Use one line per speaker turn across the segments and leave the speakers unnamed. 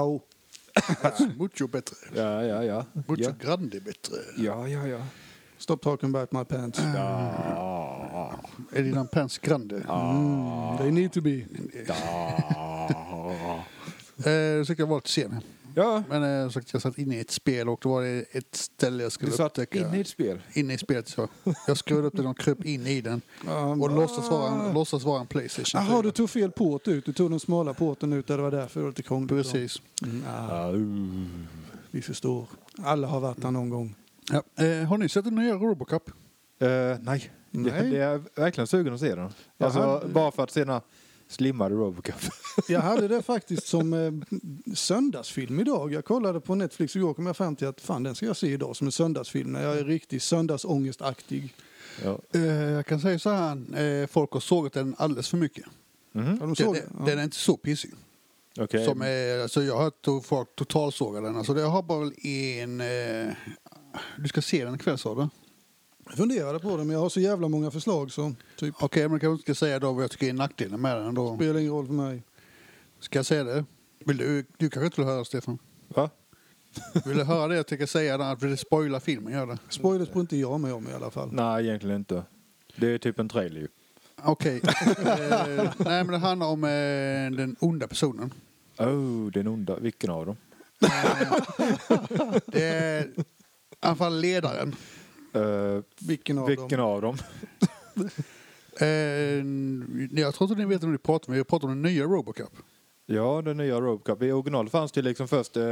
Au. Alltså, Mucho bättre.
Ja, ja, ja.
Mucho
Ja,
grande bättre.
ja, ja. ja.
Stop talking about my pants.
Da,
Är dina pants grande?
Mm, they need to be. Ah.
da.
Eh, så jag var lite sen.
Ja,
Men eh, så jag satt inne i ett spel och då var det ett ställe jag
du
skulle
satt
upptäcka.
inne i ett spel.
Inne i spelet så. Jag skruvade upp den och kröp in i den.
Um,
Och låtsas vara en, låtsas vara en Playstation.
Jaha, du tog fel påt ut. Du tog den smala påten ut. Det var därför det var lite krångligt. då.
Precis.
Mm, ah,
Ah, uh.
vi förstår. Alla har varit där någon gång.
Ja. Eh, har ni sett den nya Robocop?
Eh, nej, Det,
Nej.
det är jag verkligen sugen att se den. Alltså,
Jaha.
bara för att se den här slimmade Robocop.
Jag hade det faktiskt som eh, söndagsfilm idag. Jag kollade på Netflix igår och kom jag fram till att fan den ska jag se idag som en söndagsfilm när jag är riktigt söndagsångestaktig.
ja.
Eh, jag kan säga så här. Eh, folk har sågat den alldeles för mycket.
Mhm.
Har de
Den,
såg
den,
ja.
den är inte så pissig.
Okej.
Som är, alltså jag har hört to- folk totalsågar den. Alltså det har bara väl en... Eh, du ska se den ikväll sa du? Okej,
Jag funderade på det men jag har så jävla många förslag så typ
men jag kanske inte ska säga då vad jag tycker är nackdelen med den. Då.
spelar ingen roll för mig.
Ska jag säga det? Vill du, du kanske inte vill höra Stefan?
Va?
Vill du höra det jag tänker säga? Där, vill du spoila filmen? Gör det.
Spoilers tror inte jag med om i alla fall.
Nej, egentligen inte. Det är typ en trailer ju.
Okej. eh, nej, men det handlar om eh, den onda personen.
Oh, den onda. Vilken av dem?
Eh, det är i alla fall ledaren.
Eh,
Vilken av
vilken
dem?
av dem?
Eh, jag tror inte ni vet om ni pratar om. Vi pratar om den nya Robocop.
Ja, den nya Robocop. I original fanns det liksom först eh,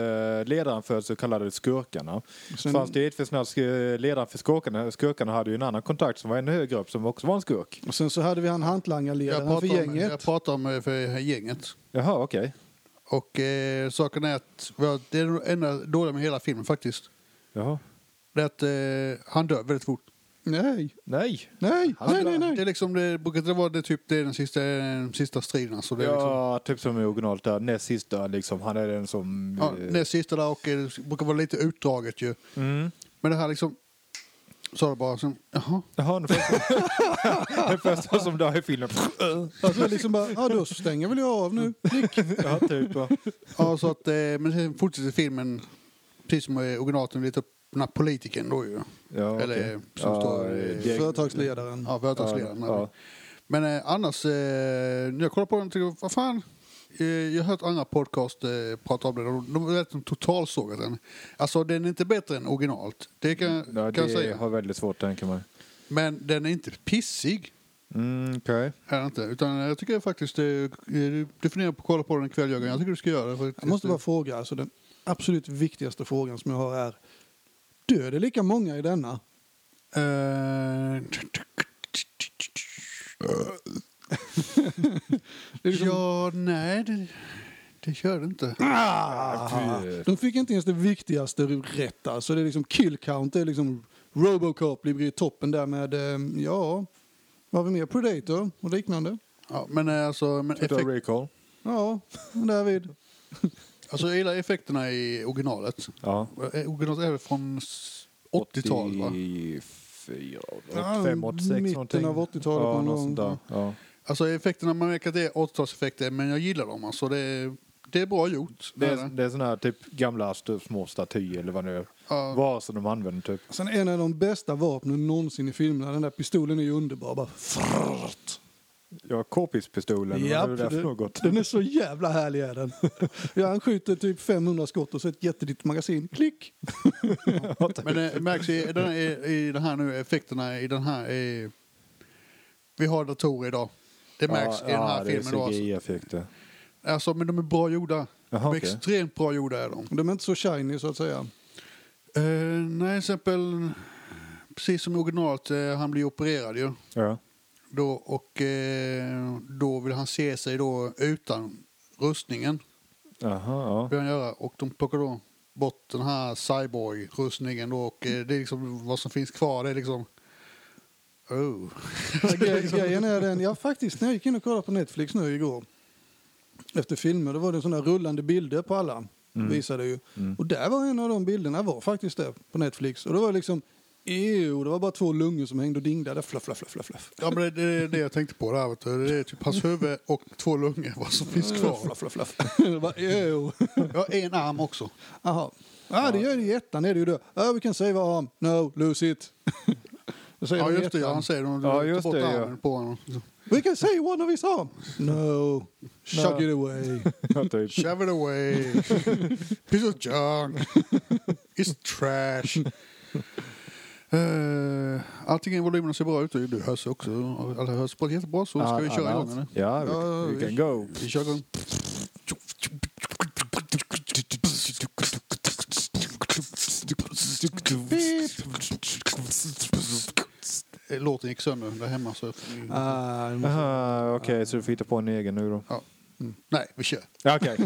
ledaren för så kallade skurkarna.
Sen-
fanns det givetvis när sk- ledaren för skurkarna, skurkarna hade ju en annan kontakt som var ännu högre upp som också var en skurk.
Och sen så hade vi han
Jag
hantlangarledaren för
pratar, om, jag
gänget.
pratar om eh, för gänget.
Jaha, okej.
Och eh, saken är att ja, det är det enda dåliga med hela filmen faktiskt.
Jaha.
Det är att eh, han dör väldigt fort.
Nej,
Nej!
nej,
Han
nej, nej,
Det
nej.
är liksom, det brukar inte vara det typ, det är den sista, den sista striden. Alltså, det är liksom,
Ja, typ som i originalet där. Näst sista liksom. Han är den som...
ja,
eh,
näst sista där och eh, det brukar vara lite utdraget ju.
Mm.
Men det här liksom, så är det bara som, jaha.
Jaha, den första, den första som dör i filmen.
Alltså liksom bara, ja då stänger väl jag av nu. Klick.
ja, typ. ja.
Ja, så att, eh, men sen fortsätter filmen, precis som i originalet, lite upp den här politikern då ju.
Ja,
Eller
okej.
som står
eh,
i-
det-
Företagsledaren.
Ja, företagsledaren.
Ja, ja.
Men eh, annars, eh, när jag kollar på den tycker jag, vad fan. Eh, jag har hört andra podcast eh, prata om den och de har verkligen totalsågat den. Alltså den är inte bättre än originalt, det kan,
Mm, Ja,
kan jag
det
säga.
har väldigt svårt, tänker man.
Men den är inte pissig.
Mm, okej.
Är den inte, utan jag tycker faktiskt, eh, du du funderar på att kolla på den ikväll Jörgen, jag tycker du ska göra det. faktiskt.
Jag måste bara fråga, alltså den absolut viktigaste frågan som jag har är dör det lika många i denna?
Eh,
liksom,
Ja, nej, det, det gör det inte.
ah! De fick inte ens det viktigaste rätt alltså. Det är liksom kill count, det är liksom Robocop ligger i toppen där med, eh, ja, vad har vi mer? Predator och liknande.
Ja, men eh, alltså, men
Total
effekt,
recall.
Ja, därvid.
alltså jag gillar effekterna i originalet.
Ja.
Eh, Originalet är väl från s- 80-tal va?
84,
Ja,
85, 86
mitten
någonting.
av 80-talet
Ja,
någon
något sånt
gång.
där. Ja.
Alltså effekterna, man märker att det är 80-talseffekter men jag gillar dem alltså. Det är, det är bra gjort.
Det,
det.
är, det är såna här typ gamla st- små statyer eller vad det är.
Ja.
Vad som de använder typ.
Sen en av de bästa vapnen någonsin i filmerna, den där pistolen är ju underbar. Bara frrrt.
Ja, k-pistolen.
Japp,
vad är det där för
det-
något?
Den är så jävla härlig är den. Ja, han skjuter typ 500 skott och så ett jätteditt magasin. Klick!
Men det märks i, den här, i, i den här nu, effekterna i den här... I, vi har datorer idag. Det märks i den här
ja,
filmen. då,
Ja, det är
alltså.
CGI-effekter.
alltså, men de är bra gjorda. de
Jaha,
är
okej.
extremt bra gjorda är de.
De är inte så shiny så att säga.
Eh, nej, till exempel, precis som i originalet, eh, han blir opererad ju.
Ja.
Då, och eh, då vill han se sig då utan rustningen.
Jaha, ja.
Vill han göra. Och de plockar då bort den här cyborg-rustningen då. Och eh, det är liksom vad som finns kvar. Det är liksom... Oh.
Gre- Grejen är den, jag faktiskt när jag gick in och kollade på Netflix nu igår efter filmer, då var det sådana rullande bilder på
Mm.
alla. Visade ju. Och där var en av de bilderna var faktiskt det på Netflix. Och det var liksom Ew, det var bara två lungor som hängde och dinglade. Fluff, fluff, fluff, fluff, fluff.
Ja, men det, det är det jag tänkte på. Där, vet du. Det är typ hans huvud och två lungor vad som finns kvar.
Fluff, fluff, fluff. Det var ew.
Ja, en arm också.
Jaha. Ja, det gör det i ettan. Är det ju då. Ja, vi kan säga arm. No, lose it. Då säger
Ja,
de i
just det. Ja,
ettan.
han säger det. Ja,
Ja, just
just bort
det, ja.
armen på honom.
We can say one of his arm. No, shug it away.
Ja, typ.
Shove it away. Piece of junk. It's trash. Uh, allting i volymerna ser bra ut. Du hörs också. Alla hörs på ett jättebra. Så ska vi köra
Alla-
igång eller?
Ja, vi,
Ja,
we
vi-
can go.
Vi kör igång. Eh, Låten gick sönder där hemma. Så...
Ah, det måste-
Aha, Okej, så du får hitta på en egen nu då.
Ja. Nej, vi kör.
Ja, Okej,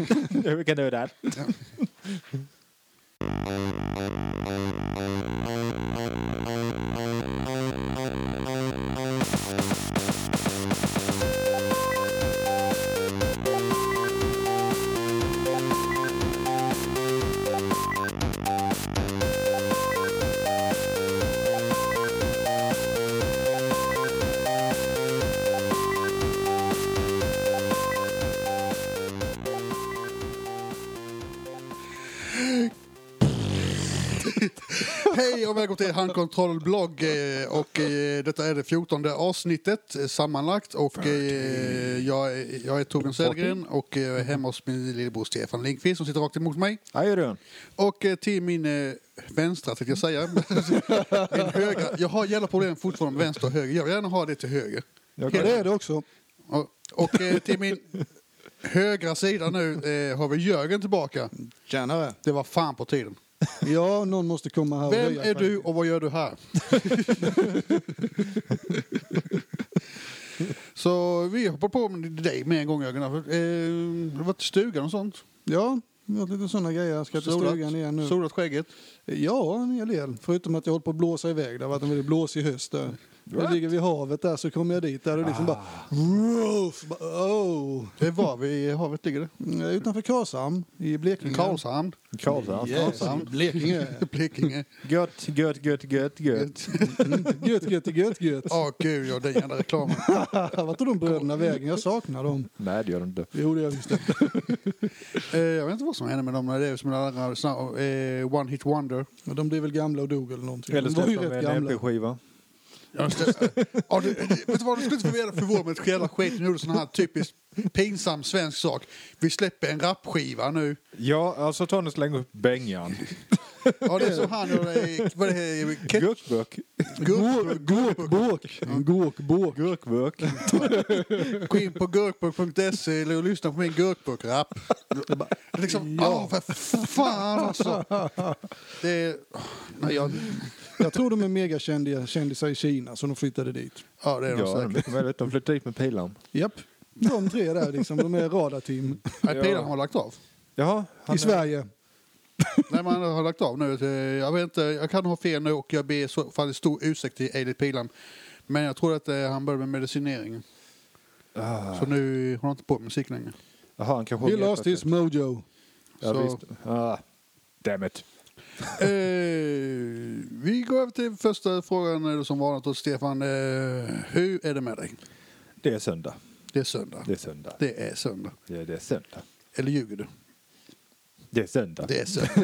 vi kan do that.
Hej och välkommen till Handkontrollblogg. eh, Och eh, detta är det fjortonde avsnittet eh, sammanlagt. Och eh, jag, är- jag är Torbjörn Södergren och eh, jag är hemma hos min lillebror Stefan Lindqvist som sitter rakt emot mig.
How you doing?
Och eh, till min eh, vänstra tänkte jag säga. min högra. Jag har jävla problem fortfarande med vänster och höger. Jag vill gärna ha det till höger.
Ja, det är det också.
Och, och eh, till min högra sida nu eh, har vi Jörgen tillbaka.
Tjänare.
Det var fan på tiden.
Ja, någon måste komma här och
Vem
höja
är du
kvaliteten.
och vad gör du här? Så vi hoppar på med dig med en gång Jörgen. Eh, Det var till stugan och sånt.
Ja, vi har lite sådana grejer. Jag ska till stugan igen nu.
solat skägget.
Ja, en hel del. Förutom att jag håller på att blåsa iväg. Det har varit en väldigt blåsig höst där. Jag ligger vid havet där, så kommer jag dit där och
Ah.
liksom bara... Ruff, bara oh.
Det var vi i havet ligger det.
Mm, Utanför Karlshamn i Blekinge.
Karlshamn.
Karlshamn.
Yes,
Karlshamn.
Blekinge.
Blekinge.
Gött, gött, gött, gött, gött.
Gött, gött, gött, gött.
Ja, gud ja, den jävla reklamen.
Vart tog de bröderna vägen? Jag saknar dem.
Nej, det gör det inte.
Jo, det gör jag visst. det.
Eh, jag vet inte vad som hände med dem. Det är som alla andra såna- eh, One Hit Wonder.
Men de blev väl gamla och dog eller någonting.
Eller
de var ju
släppa med
rätt
en
gamla.
EP-skiva.
Ja, det, ja, det, vet du vad, du skulle inte förvåna förvåna mig ett jävla skit. Nu gjorde sån här typiskt pinsam svensk sak. Vi släpper en rapskiva nu.
Ja, alltså ta nu och släng upp Bengan.
Ja, det är som han och det, vad det heter, Ket-
Gurkburk.
Gurk-
Gåkbåk. Gåkbåk.
Gurkburk.
Gå in på gurkburk.se eller och lyssna på min gurkburk-rap. Det är Liksom, ja, för fan alltså. Det är, nej, jag,
Jag tror de är megakändiga kändisar i Kina, så de flyttade dit.
ja, det är de
Ja,
säkert.
mycket möjligt. De flyttade dit med pilan.
Japp. De tre där, liksom, de är radarteam
Nej, Pilan har lagt av.
Jaha.
i Sverige.
Nej, man har lagt av nu. Eh, Jag vet inte, jag kan ha fel nu och jag ber i så fall stor ursäkt till Eilert Pilan. Men jag tror att eh, han började med medicinering.
Ah.
Så nu håller han inte på med musik längre.
Jaha, han kanske...
He lost his mojo.
Ja,
Så-
visst. Ah, damn it.
Eh, vi går över till första frågan eh, som vanligt hos Stefan. Eh, hur är det med dig?
Det är söndag.
Det är söndag.
Det är söndag.
Det är söndag.
Ja, det är söndag.
Eller ljuger du?
Det är söndag.
Det är söndag.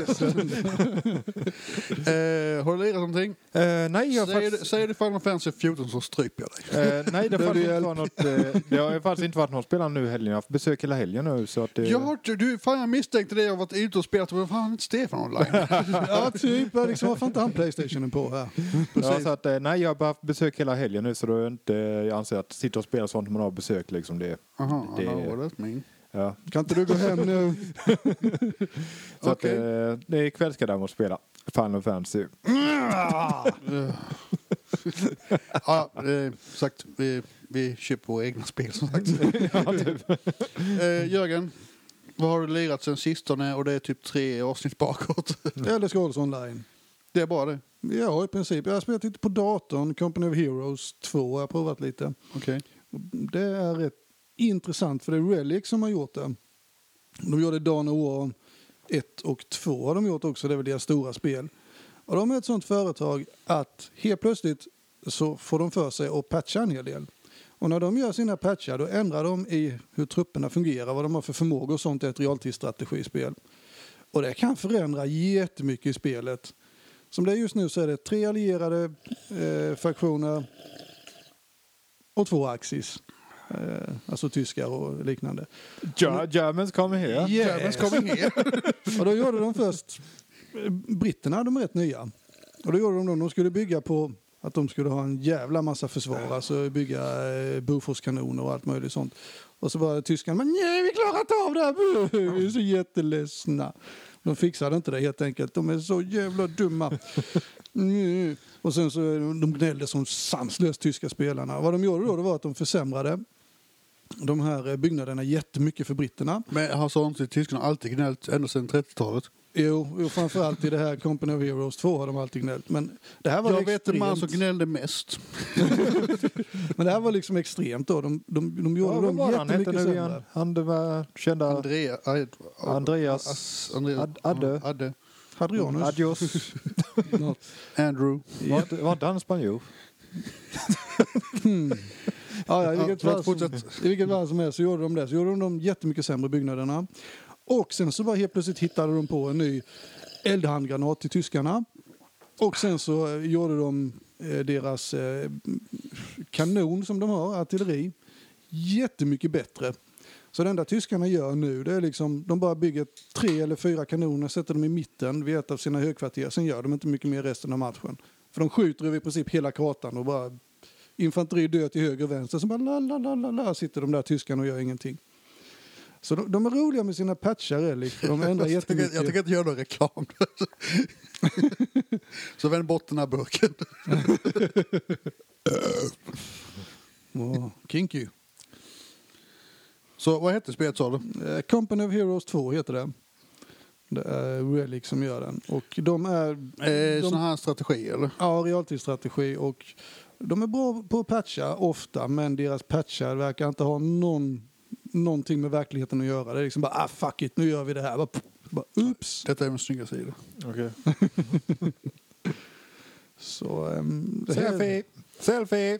eh, har du lirat någonting?
Eh, nej,
Säger,
jag har faktiskt...
du- säger du Final Fantasy 14 så stryper jag dig.
Eh, nej, det, har faktiskt
Behöver du
inte
hjälp?
varit något, eh, det har faktiskt inte varit någon spelare nu i helgen. Jag har haft besök hela helgen nu. Så att eh, det,
Jag, har, inte- du, fan, jag misstänkte det. Jag har varit ute och spelat. Men fan, inte Stefan online.
Ja, typ. Liksom, varför inte han Playstationen på här?
ja, så att, eh, nej, jag har bara haft besök hela helgen nu så då är jag inte, jag anser att sitta och spela sånt när man har besök liksom det.
Jaha,
Det-
han har varit min.
Ja.
Kan inte du gå hem nu?
Så
Okej.
att, eh, det är ikväll ska däremot spela Final Fantasy.
Ja, eh, sagt, vi, vi köper våra egna spel som sagt. eh, Jörgen, vad har du lirat sen sistone? Och det är typ tre avsnitt bakåt.
Eller Skåls online?
Det är bara det.
Ja, i princip. Jag har spelat lite på datorn, Company of Heroes 2 har jag provat lite.
Okej.
Det är rätt intressant för det är Relic som har gjort det. De gjorde Dan och War 1 och 2 har de gjort också, det är väl deras stora spel. Och de är ett sånt företag att helt plötsligt så får de för sig att patcha en hel del. Och när de gör sina patchar då ändrar de i hur trupperna fungerar, vad de har för förmågor och sånt i ett realtidsstrategispel. Och det kan förändra jättemycket i spelet. Som det är just nu så är det tre allierade eh, faktioner och två axis. Eh, alltså tyskar och liknande.
Ger- Germans come here.
Germans coming here.
Och då gjorde de först, britterna de är rätt nya. Och då gjorde de då, de skulle bygga på att de skulle ha en jävla massa försvar, alltså bygga eh, Boforskanoner och allt möjligt sånt. Och så bara tyskarna, men nej vi klarar inte av det här, Bu! vi är så jätteledsna. De fixade inte det helt enkelt, de är så jävla dumma. Mm. Och sen så de gnällde som sanslöst tyska spelarna. Vad de gjorde då det var att de försämrade de här eh, byggnaderna jättemycket för britterna.
Men har sånt i tyskarna alltid gnällt ända sedan 30-talet?
Jo, jo, framförallt i det här Company of Heroes 2 har de alltid gnällt. Men det här var
Jag vet en
extremt,
man som gnällde mest.
men det här var liksom extremt då. De, de, de
Ja,
gjorde
vad var
dem
han hette
jättemycket
nu
sämre.
igen? Han det var kända...
Andrea, Ad,
Andreas...
Andreas
Ad, Adde?
Adde.
Hadrianus.
Adios.
något.
Andrew.
Var inte- Var inte han spanjor?
Ja, ja, i,
Ja,
vilket
förlåt,
fall som, I vilket fall som helst så gjorde de det. Så gjorde de de jättemycket sämre byggnaderna. Och sen så bara helt plötsligt hittade de på en ny eldhandgranat till tyskarna. Och sen så eh, gjorde de eh, deras eh, kanon som de har, artilleri, jättemycket bättre. Så det enda tyskarna gör nu det är liksom, de bara bygger tre eller fyra kanoner, sätter dem i mitten vid ett av sina högkvarter. Sen gör de inte mycket mer resten av matchen. För de skjuter över i princip hela kartan och bara infanteri dör till höger och vänster. Så bara la, la, la, la, la sitter de där tyskarna och gör ingenting. Så de, de är roliga med sina patchar, Elik. för De ändrar
Jag tänker, jag tänker
jättemycket.
inte göra någon reklam. Så vänd bort den här burken.
Åh, kinky.
Så vad hette spelet sa du?
Eh, Company of Heroes 2 heter det. Det är Relic som gör den. Och de är...
Eh,
de,
Sån här strategi eller?
ja, realtidsstrategi och de är bra på att patcha ofta men deras patchar verkar inte ha någon, någonting med verkligheten att göra. Det är liksom bara ah fuck it, nu gör vi det här. Bara, bara, oops.
Detta är min snygga sida.
Okej.
Så, ehm, det här-
Selfie!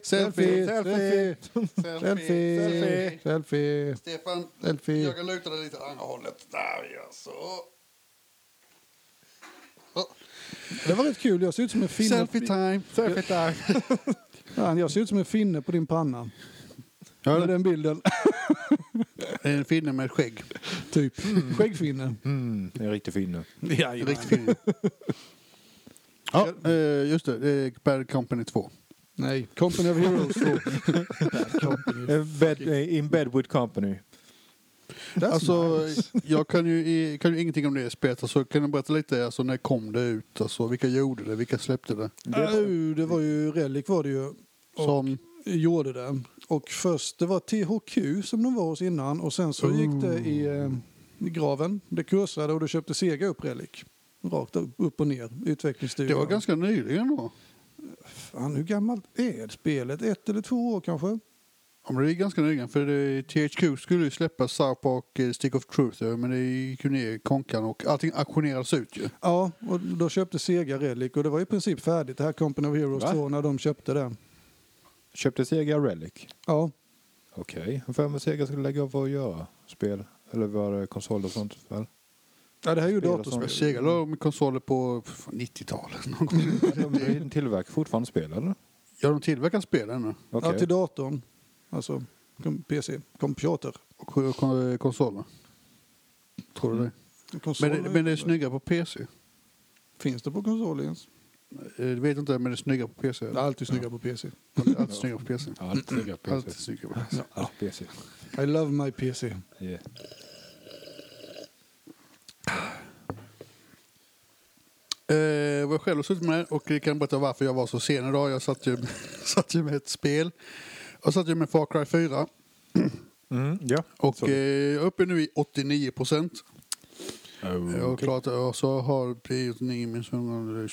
Selfie!
Selfie!
Selfie!
Selfie! Selfie!
Selfie.
Selfie!
Stefan,
Selfie!
kan luta dig lite åt andra hållet. Där ja, så.
Det var rätt kul, jag ser ut som en finne.
Selfie time.
Selfie time!
Ja, jag ser ut som en finne på din panna.
Ja,
Med den bilden.
En finne med ett skägg.
typ. Skäggfinne.
Mm, en riktig finne.
En riktig finne. Ja, eh, just det. Det är Bad Company 2.
Nej, Company of Heroes 2. Bad company.
Eh, Bed, eh, in bed with company.
That's
Alltså,
nice.
jag kan ju, i- kan ju ingenting om det spelet. Alltså, kan du berätta lite, alltså, när kom det ut? Alltså, vilka gjorde det? Vilka släppte det?
Det, det var ju Relic var det ju.
Som,
Gjorde det. Och först, det var THQ som de var hos innan och sen så gick det i, eh, i graven. Det kursade och då köpte Sega upp Relic. Rakt upp upp och ner,
det
utvecklingsstudion.
var ganska nyligen då.
Fan, hur gammalt är spelet? Ett eller två år kanske?
Ja, men det är ganska nyligen, för det, THQ skulle ju släppa South Park eh, Stick of Truth, eh, men det gick ju ner i konkan och allting auktionerades ut ju.
Ja, och då köpte Sega Relic och det var i princip färdigt det här Company of Heroes
Va?
2 när de köpte det.
Köpte Sega Relic.
Ja,
Okej. Okay. För mig Sega skulle lägga av vad att göra. Spel. Eller var det konsol och sånt väl?
ja det här är ju
Spel och
datorspel.
sånt.
Sega la om konsoler på fan, 90-talet någon gång.
Ja, men de tillverkar fortfarande spel eller?
Ja, de tillverkar spel ännu.
Okej.
Ja, till datorn. Alltså kom- PC, computer.
Och kon- kon- konsoler. Tror du det?
Mm. Konsoler.
Men det, men det är snyggare på PC. Eh,
Finns det på konsol ens?
Det vet jag inte, men det är snyggare på PC.
Det är alltid snyggare på PC.
Det är Alltid snyggare på PC.
Allt ligger på
Mm, Alltid
PC.
snyggare på PC.
Allt PC.
I love my PC.
Yeah.
Eh, vad jag själv har suttit med och jag kan berätta varför jag var så sen idag. Jag satt ju, satt ju med ett spel. Jag satt ju med Far Cry 4
Mm, ja.
och
Så.
eh, jag är uppe nu i 89 procent. Eh,
Oh,
Och
okej.
klart, och så har blivit 9 min son.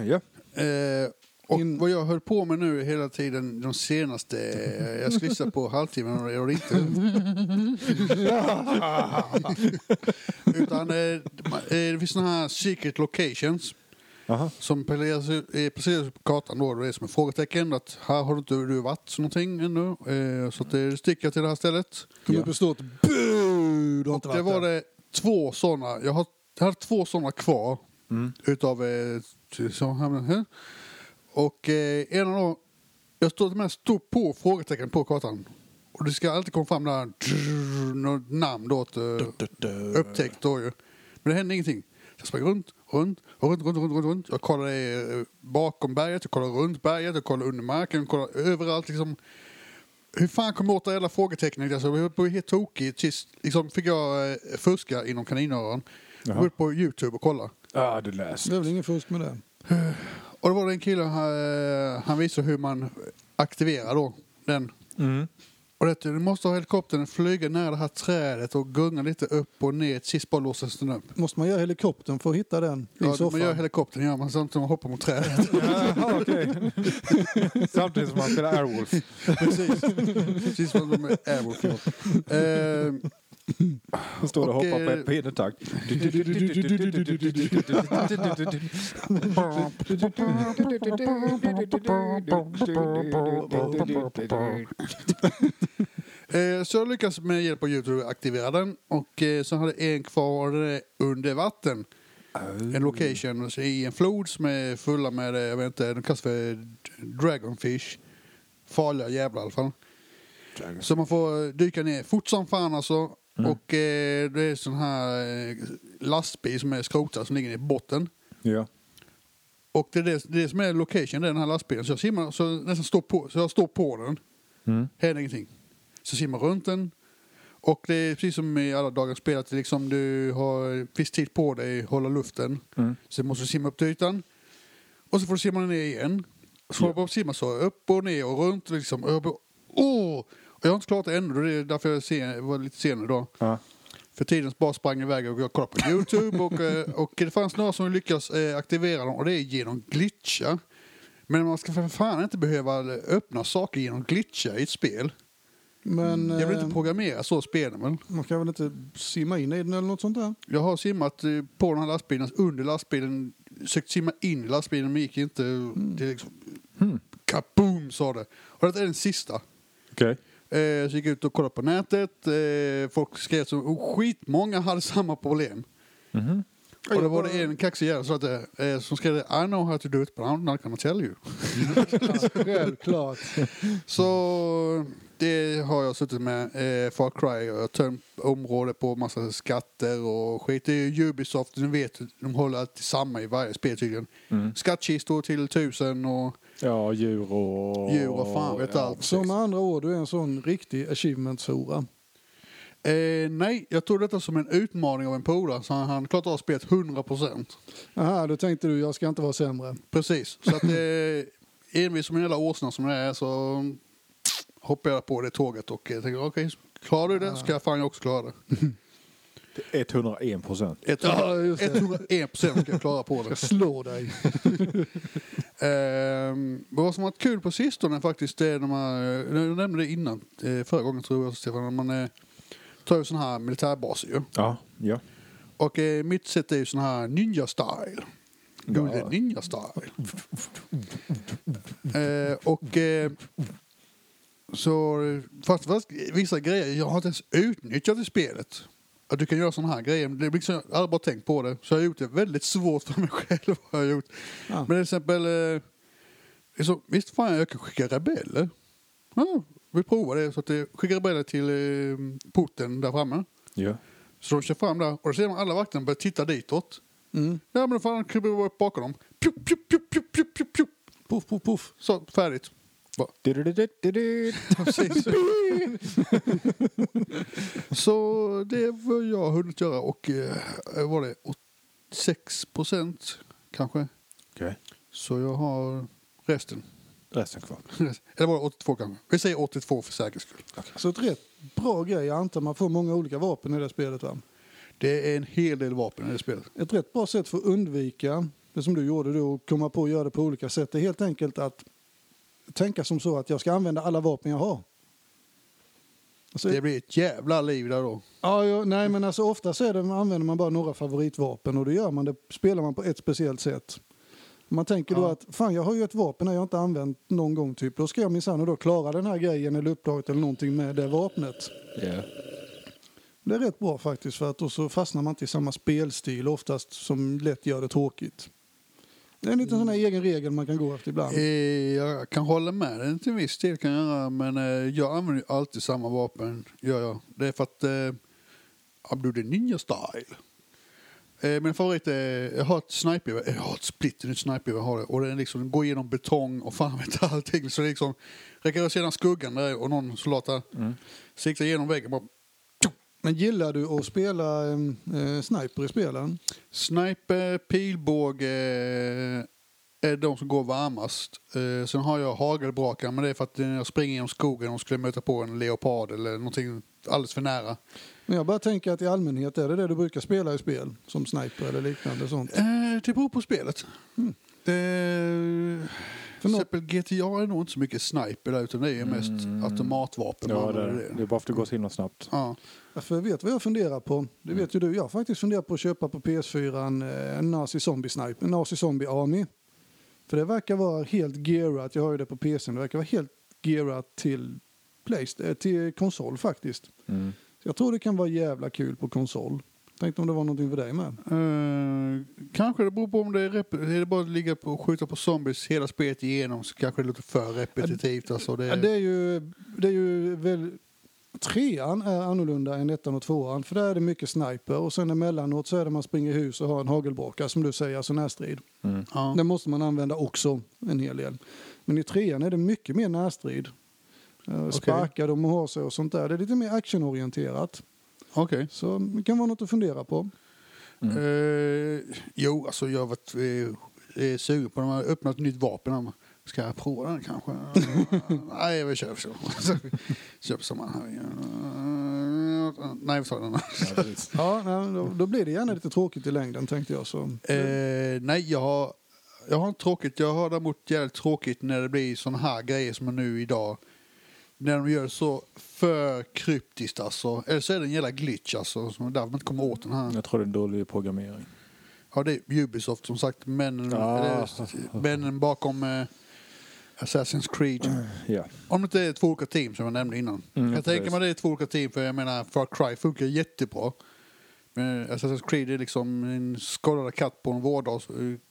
ja.
Eh, Och
In-
vad jag höll på med nu hela tiden, de senaste, eh, jag skulle gissa på halvtimmen och det gjorde inte. Utan eh, ma- eh, det finns såna här secret locations
Aha.
som placeras ut- eh, placeras ut på kartan då. Det är som ett frågetecken att här har du inte du varit så någonting ännu. Eh, så att det sticker till det här stället.
Kom upp och stå ett bu! Du har inte
Och det
varit
var
där.
det två sådana. Jag har, jag har två sådana kvar. Utav... eh, t- som hamnade här. Och eh, en av dem... Jag stod med stor på frågetecken på kartan. Och det ska alltid komma fram där, drrrr, något namn då. Att, eh, upptäckt då ju. Men det hände ingenting. Så jag sprang runt, runt, runt, runt, runt, runt, runt. Jag kollade eh, bakom berget, jag kollade runt berget, jag kollade under marken, jag kollade överallt liksom. Hur fan kom jag åt det hela frågetecknet? Alltså, jag blev helt tokig. Sist liksom, fick jag eh, fuska inom kaninöron. Jag
Jaha.
var ute på Youtube och kollade.
Ah, du läst.
Det
Mm.
är väl ingen fusk med det.
Och då var det en kille, han, han visade hur man aktiverar då den.
Mm.
Och det, du måste ha helikoptern flyga nära det här trädet och gunga lite upp och ner. Sist bara låses den upp.
Måste man göra helikoptern för att hitta den i
Ja,
soffan?
man gör helikoptern gör man samtidigt som man hoppar mot trädet.
Jaha, okej. Samtidigt som man spelar Airwolf.
Precis. Precis som de är Airwolf. ja. Eh,
Hon står och
Och,
hoppar
eh,
på- på pinnetakt.
eh, så jag lyckas med hjälp av Youtube aktivera den och eh, så hade jag en kvar eh, under vatten. En location alltså, i en flod som är fulla med, eh, jag vet inte, de kallas för d- dragonfish. Farliga jävlar i alla fall. Så man får eh, dyka ner fort som fan alltså. Och eh, det är sån här eh, lastbil som är skrotad som ligger i botten.
Ja.
Och det är det, det är som är location, det är den här lastbilen. Så jag simmar, så jag nästan står på, så jag står på den.
Mm.
Händer ingenting. Så jag simmar runt den. Och det är precis som i alla dagar spel, att liksom du har viss tid på dig att hålla luften.
Mm.
Så måste du simma upp till ytan. Och så får du simma ner igen. Så håller jag på att simma så, upp och ner och runt. Liksom. Och jag bara, åh! Och jag har inte klarat det ännu, det är därför jag sen, var lite sen idag.
Ja.
För tiden bara sprang iväg och jag kollade på Youtube och, eh, och det fanns några som lyckas eh, aktivera dem och det är genom glitchar. Men man ska för fan inte behöva öppna saker genom glitchar i ett spel.
Men
Jag vill
eh,
inte programmera så spelen men
man kan väl inte simma in i den eller något sånt där?
jag har simmat eh, på den här lastbilen, under lastbilen, sökt simma in i lastbilen men gick inte. Det är liksom, kaboom sa det. Och det är den sista.
Okej.
Eh, så gick jag ut och kollade på nätet. Eh, folk skrev som och skitmånga hade samma problem.
Mhm.
Och det var det en kaxig jävel som sa att, eh, som skrev I know how to do it but I'm not gonna tell you.
Självklart.
Så det har jag suttit med eh, Far Cry och tömt område på massa skatter och skit. Det är ju Ubisoft, ni vet, de håller alltid samma i varje spel tydligen. Skattkistor till tusen och
Ja, djur och...
djur och fan vet
Ja.
allt.
Så med andra ord, du är en sån riktig achievements-hora.
Eh, nej, jag tog detta som en utmaning av en polare så han, han klarade av spelet 100%.
Aha, då tänkte du jag ska inte vara sämre.
Precis, så att eh, envis som en jävla åsna som jag är så hoppade jag på det tåget och eh, tänkte okej, klarar du det ska jag fan också klara det.
101 procent.
100,
just det.
101 procent ska jag klara på det.
Slå dig.
Ehm, men vad som har varit kul på sistone faktiskt, det är när man, jag nämnde det innan, eh, förra gången tror jag Stefan, när man eh, tar ju sådana här militärbaser ju.
Ja. ja.
Och eh, mitt sätt är ju sån här ninja-style. Do
Ja.
the ninja-style. eh, och eh, så, fast, fast vissa grejer jag har inte ens utnyttjat i spelet. Att du kan göra sådana här grejer. Det är liksom, jag har aldrig bara tänkt på det. Så jag har gjort det väldigt svårt för mig själv. Har jag gjort.
Ja.
Men till exempel, eh, så, visst fan jag kan skicka rebeller. Ja, vi provar det. Så att eh, skicka rebeller till eh, porten där framme.
ja.
Så de kör fram där och då ser man alla vakterna börja titta ditåt.
Mm.
Ja men fan, kryper upp bakom dem. Pju, pju, pju, pju, pju, pju, pju.
Puff, puff, puff.
Så, färdigt. Bara,
Du-du-du-du-du-du.
precis. så det var jag har hunnit göra och eh, var det 6 procent kanske.
Okej.
Så jag har resten.
Resten kvar.
Eller var det 82 kanske? Vi säger 82 för säkerhets skull.
Så ett rätt bra grej. Jag antar man får många olika vapen i det spelet va?
Det är en hel del vapen i det spelet.
Ett rätt bra sätt för att undvika det som du gjorde då, och komma på att göra det på olika sätt, det är helt enkelt att tänka som så att jag ska använda alla vapen jag har. Alltså,
Det blir ett jävla liv där då.
ja, ja, nej, men alltså ofta så är det, använder man bara några favoritvapen och då gör man det, spelar man på ett speciellt sätt. Man tänker då
Ja.
att fan jag har ju ett vapen här jag inte använt någon gång typ, då ska jag minsann och då klara den här grejen eller uppdraget eller någonting med det vapnet.
Ja.
Det är rätt bra faktiskt för att då så fastnar man inte i samma spelstil oftast som lätt gör det tråkigt. Det är en liten sån här egen regel man kan gå efter ibland.
Eh, Jag kan hålla med dig till viss del, kan jag, göra, men eh, jag använder ju alltid samma vapen. Gör jag. Det är för att eh, I'm doing the ninja style. Eh, min favorit är, jag har ett snipergevär, jag har ett splitternytt snipergevär, jag har det. och den liksom går igenom betong och fan vet allting. Så det liksom, räcker det sedan skuggan där och någon soldat där, siktar igenom väggen bara
Men gillar du att spela em, eh, sniper i spelen?
Sniper, pilbåge är de som går varmast. Eh, sen har jag hagelbrakar, men det är för att när jag springer genom skogen och skulle möta på en leopard eller någonting alldeles för nära.
Men jag bara tänker att i allmänhet är det det du brukar spela i spel, som sniper eller liknande sånt.
Eh, det beror på spelet. Det...
För
Till
nå-
exempel GTA är nog inte så mycket sniper där, utan det är ju mest automatvapen. man
Ja, det,
använder
det är bara för att det går så himla snabbt.
Ja.
Ja, För jag vet vad jag funderar på. Det vet ju du. Jag har faktiskt funderat på att köpa på PS4 en, eh, en Nazi Zombie Sniper, en Nazi Zombie Army. För det verkar vara helt gearat, jag har ju det på PC, det verkar vara helt gearat till, Playsta- eh, till konsol faktiskt.
Mm.
Så jag tror det kan vara jävla kul på konsol. Tänkte om det var någonting för dig med.
Eh, kanske det beror på om det är, rep- är det bara att ligga på och skjuta på zombies hela spelet igenom så kanske det låter för repetitivt. Alltså, det...
Ja, det är ju, det är ju väl, trean är annorlunda än ettan och tvåan för där är det mycket sniper och sen emellanåt så är det man springer i hus och har en hagelbaka som du säger, alltså närstrid.
Mm.
Ja.
Den måste man använda också en hel del. Men i trean är det mycket mer närstrid. Okay. Sparkar de och har sig och sånt där. Det är lite mer actionorienterat.
Okej.
Så det kan vara något att fundera på.
Mm.
Eh, jo, alltså jag har varit eh, eh, sugen på när man har öppnat ett nytt vapen. här. Ska jag prova den kanske? Nej, vi kör så. Köp samma här. Eh, Nej, vi tar den. här.
Ja, precis.
Ja, nej, då, då blir det gärna lite tråkigt i längden tänkte jag. Så.
Eh, nej, jag har, jag har inte tråkigt. Jag har däremot jävligt tråkigt när det blir såna här grejer som nu idag. När de gör så för kryptiskt alltså. Eller så är det en jävla glitch alltså. Som därför man inte kommer åt den här.
Jag tror det är en dålig programmering.
Ja, det är Ubisoft som sagt. Männen,
Ja.
eller, männen bakom eh, Assassin's Creed.
Ja.
Om det inte är två olika team som jag nämnde innan.
Mm,
jag
precis.
tänker mig det är två olika team för jag menar Far Cry funkar jättebra. Men Assassin's Creed är liksom en skadad katt på en vårdag,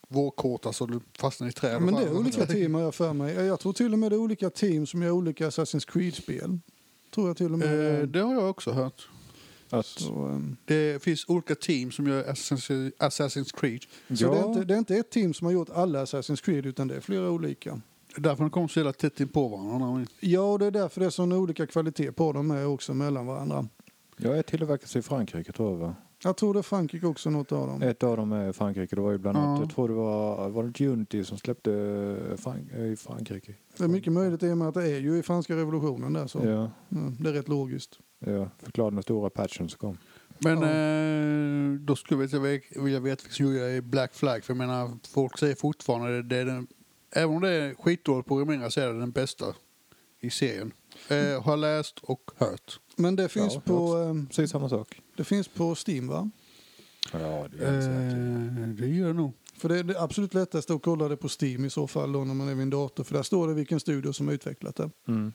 vårkåta så alltså, du fastnar i träd. Eh,
Men det är olika team har jag för mig. Jag tror till och med det är olika team som gör olika Assassin's Creed-spel. Tror jag till och med.
Eh, det har jag också hört.
Att,
så, ehm,
Det finns olika team som gör Assassin's Assassin's Creed.
så
ja.
det, är inte, det är inte ett team som har gjort alla Assassin's Creed utan det är flera olika.
Därför de kommer så jävla tätt in på varandra.
Ja, och det är därför det är sån olika kvalitet på dem är också mellan varandra.
Jag är tillverkas i Frankrike tror jag va?
Jag tror det är Frankrike också något av
Eh,
dem.
Ett av dem är Frankrike. Det var ju bland annat,
Ja.
jag tror det var, var det inte Unity som släppte eh, Frank, eh, i Frankrike?
Det är mycket möjligt i och med att det är ju i franska revolutionen där så.
Ja,
Mm, det är rätt logiskt.
ja. Förklara den stora patchen som kom.
Men eh, då skulle jag vilja- vilja veta vilka som gjorde Black Flag. För jag menar, folk säger fortfarande det, det är den, även om det är skitdåligt programmerat så är det den bästa i serien. Eh, har läst och hört.
Men det finns,
Ja,
på, ehm,
Precis samma sak.
det finns på Steam va?
Ja, det
Eh, det gör det nog.
För det är det absolut lättaste att kolla det på Steam i så fall då när man är vid en dator. För där står det vilken studio som har utvecklat det.
Mm.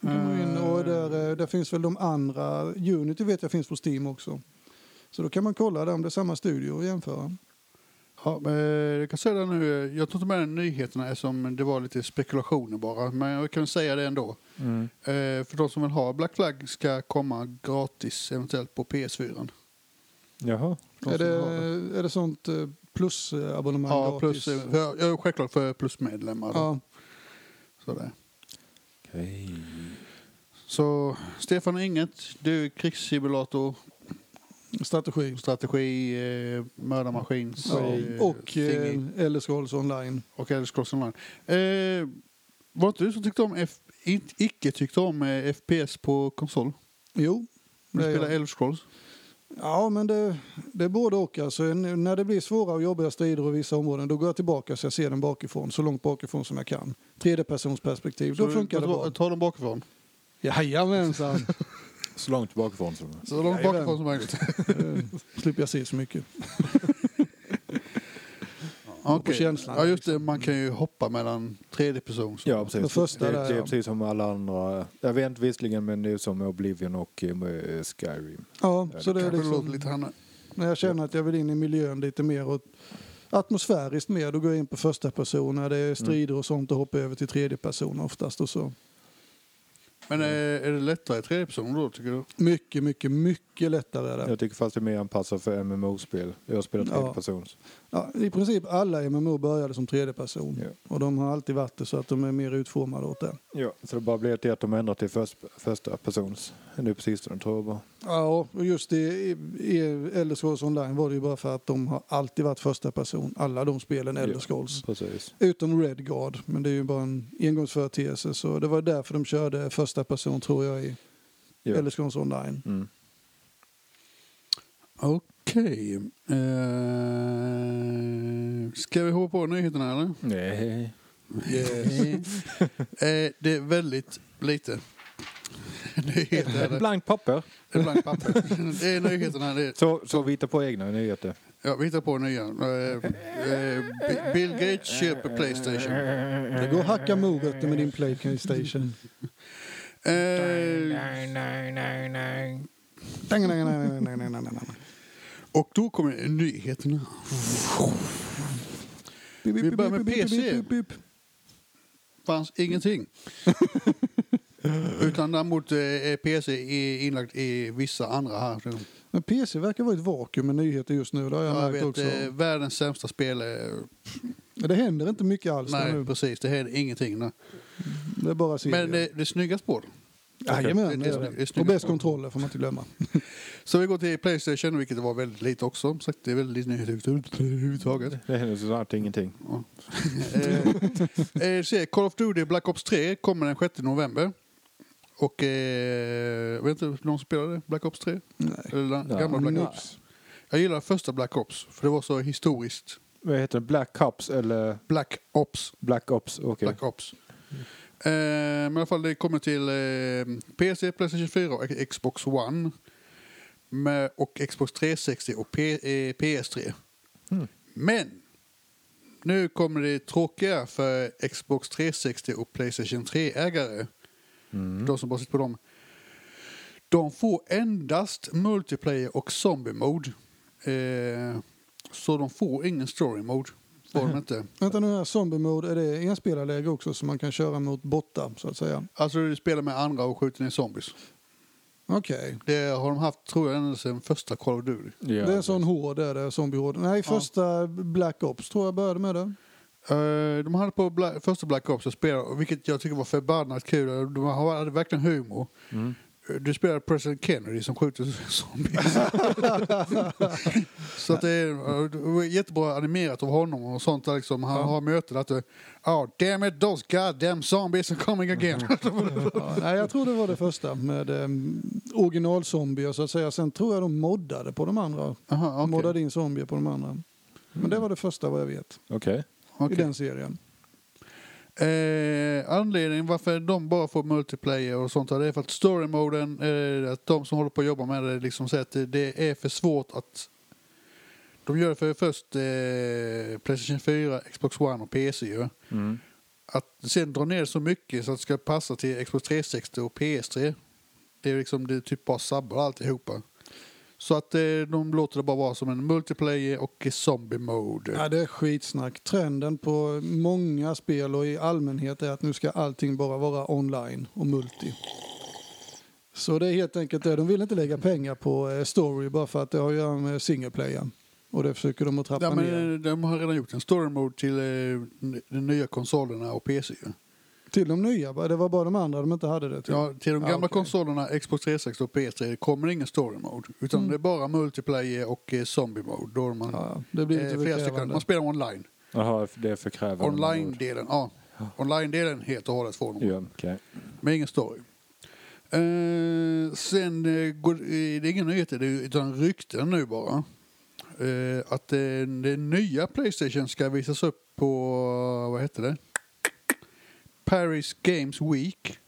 Då kan man gå in
Ah.
och där, eh, där finns väl de andra. Unity vet jag finns på Steam också. Så då kan man kolla där om det är samma studio och jämföra.
Ja, eh, jag kan säga det nu, eh, jag tog inte med den nyheterna eftersom det var lite spekulationer bara. Men jag kan säga det ändå.
Mm.
Eh, för de som vill ha Black Flag ska komma gratis eventuellt på PS4.
Jaha.
De
är,
som
det,
har det.
är det sånt eh, plusabonnemang
Ja, plus, eh,
gratis?
för, ja, självklart för plusmedlemmar. Ja.
Ja,
Sådär.
Okej.
Så Stefan Inget, du är krigssimulator,
strategi.
strategi, eh, mördarmaskin
Ja,
eh,
och
thingy,
eh, Elder Scrolls online.
och Elder Scrolls Online. Eh, var inte du som tyckte om F- in- icke tyckte om eh, FPS på konsol?
Jo,
Du
det är
spelar
jag.
Elder Scrolls.
Ja, men det, det är både och. Alltså, En- när det blir svåra och jobbiga strider i vissa områden då går jag tillbaka så jag ser den bakifrån, så långt bakifrån som jag kan. Tredjepersonsperspektiv, då
Så
funkar det
ta-
bra.
Ta dem bakifrån.
Jajamensan!
Så långt bakifrån som
Så långt
Jajamän.
bakifrån som möjligt.
Eh, slipper jag se så mycket.
Okej.
känslan, liksom.
Ja, just det. Man kan ju hoppa mellan tredje person. så-
Ja, precis.
Den första
det,
där,
det är
ja.
precis som alla andra. Jag vet inte visserligen, men det är som Oblivion och eh, Skyrim.
Ja,
Ja,
så det är
Kanske låter
liksom,
lite här
när jag känner att jag vill in i miljön lite mer och atmosfäriskt mer, då går jag in på första person när det
Mm.
är strider och sånt och hoppar över till tredje person oftast och så.
Men eh, är det lättare i tredje person då, tycker du?
Mycket, mycket, mycket lättare är det.
Jag tycker fast det är mer anpassat för MMO-spel. Jag spelar
Ja.
tredjepersons.
Ja, I princip alla MMO började som tredje person.
Ja.
Och de har alltid varit det så att de är mer utformade åt det.
Ja, så det bara blir till att de ändrar till först, första persons. Nu på sistone tror jag bara.
Mm. Ja, och just i, i, i Elder Scrolls Online var det ju bara för att de har alltid varit första person. Alla de spelen Elder
Ja.
Scrolls.
Precis.
Utom Red Guard, men det är ju bara en engångsföreteelse. Så det var därför de körde första person tror jag i
Ja.
Elder Scrolls Online.
Mm.
Okej. Eh, ska vi hoppa på nyheterna eller?
Nej.
eh, det är väldigt lite nyheter. är
Ett
det.
blankt papper.
Det är blankt papper. Det är nyheterna. Det är,
Så, så vi hittar på egna nyheter.
ja, vi hittar på nya. Eh, eh, Bi- Bill Gates köper Playstation.
Det går att hacka morötter med din Playstation.
Eh,
Dang, dang, dang, dang, dang, dang, dang, dang.
och då kommer nyheterna. Vi börjar med PC. fanns ingenting. Utan däremot eh, är PC i- inlagt i vissa andra här.
Men PC verkar vara ett vakuum med nyheter just nu. Det har jag
Jag
märkt
vet,
också.
eh, världens sämsta spel. eh,
Men Det händer inte mycket alls där
Nej,
Alltså, nu.
precis. Det här är ingenting. Nej.
Det är bara serier.
Men det, det är snygga spår.
Jajamän,
det-
det är
det- det är
det.
snygga
Och bäst
spår.
kontroller får man inte glömma.
Så vi går till Playstation, vilket var väldigt lite också. Som sagt, det är väldigt lite nyheter överhuvudtaget.
Det händer så snart ingenting.
eh, eh, se, Call of Duty Black Ops 3 kommer den 6 november. Och eh, jag vet inte om någon spelade Black Ops 3?
Nej.
Eller den gamla
Nej.
Black Ops? Jag gillar första Black Ops, för det var så historiskt.
Vad heter det? Black Ops eller
Black Ops.
Black Ops? Okej.
Black Ops. Eh, men i alla fall, det kommer till eh, PC, Playstation 4 och Xbox One. Med, och Xbox 360 och P, eh, PS3.
Mm.
Men! Nu kommer det tråkiga för Xbox 360 och Playstation 3-ägare.
Mm.
De som bara sitter på dem. De får endast multiplayer och zombie mode. Eh, så de får ingen story mode. Får de inte.
Vänta nu här, zombie mode, är det enspelarläge också som man kan köra mot bottar så att säga?
Alltså du spelar med andra och skjuter ner zombies.
Okej.
Det har de haft tror jag ända sedan första Call of Duty.
Ja.
Det är en sån hård, är det, zombiehård. Nej, första Black Ops tror jag började med det.
Eh, de hade på Bla- första Black Ops att spela, och vilket jag tycker var förbannat kul. De hade verkligen humor.
Mm.
Eh, Du spelar President Kennedy som skjuter zombies. så att det, är, eh, det var jättebra animerat av honom och sånt. Där, liksom. Han har möten att det- oh, damn it, those goddamn zombies are coming again.
Ja, nej, jag tror det var det första med eh, originalzombier så att säga. Sen tror jag de moddade på de andra.
Aha, okej.
Moddade in zombier på de andra. Men det var det första vad jag vet
Okej.
Okej.
i den serien.
Eh, anledningen varför de bara får multiplayer och sånt där, det är för att storymoden, eh, att de som håller på att jobba med det liksom säger att det- det är för svårt att... De gör det för först eh, Playstation 4, Xbox One och PC ju.
Mm.
Att sen dra ner så mycket så att det ska passa till Xbox 360 och PS3. Det är liksom, det är typ bara sabbar alltihopa. Så att eh, de låter det bara vara som en multiplayer och zombie mode.
Ja, det är skitsnack. Trenden på många spel och i allmänhet är att nu ska allting bara vara online och multi. Så det är helt enkelt det. De vill inte lägga pengar på eh, story bara för att det har att göra med single player. Och det försöker de att trappa
Ja,
ner
men eh, de har redan gjort en story mode till eh, n- de nya konsolerna och PC.
Typ.
ju.
till de nya. bara. Det var bara de andra de inte hade det till.
Ja, till de
Ja,
gamla
okej.
konsolerna, Xbox 360 och PS3, det kommer ingen story mode. Utan
Mm.
det är bara multiplayer och eh, zombie mode. Då är man,
Ja, det blir
eh,
inte
flera stycken,
bekrävande.
man spelar online.
Jaha, det är för krävande.
Online-delen, ja. Online-delen helt och hållet får de.
Ja, okej.
Men ingen story. Eh, sen, eh, går, eh, det är inga nyheter, det är, ju- utan rykten nu bara. Eh, att eh, det nya Playstation ska visas upp på, vad heter det? Paris Games Week.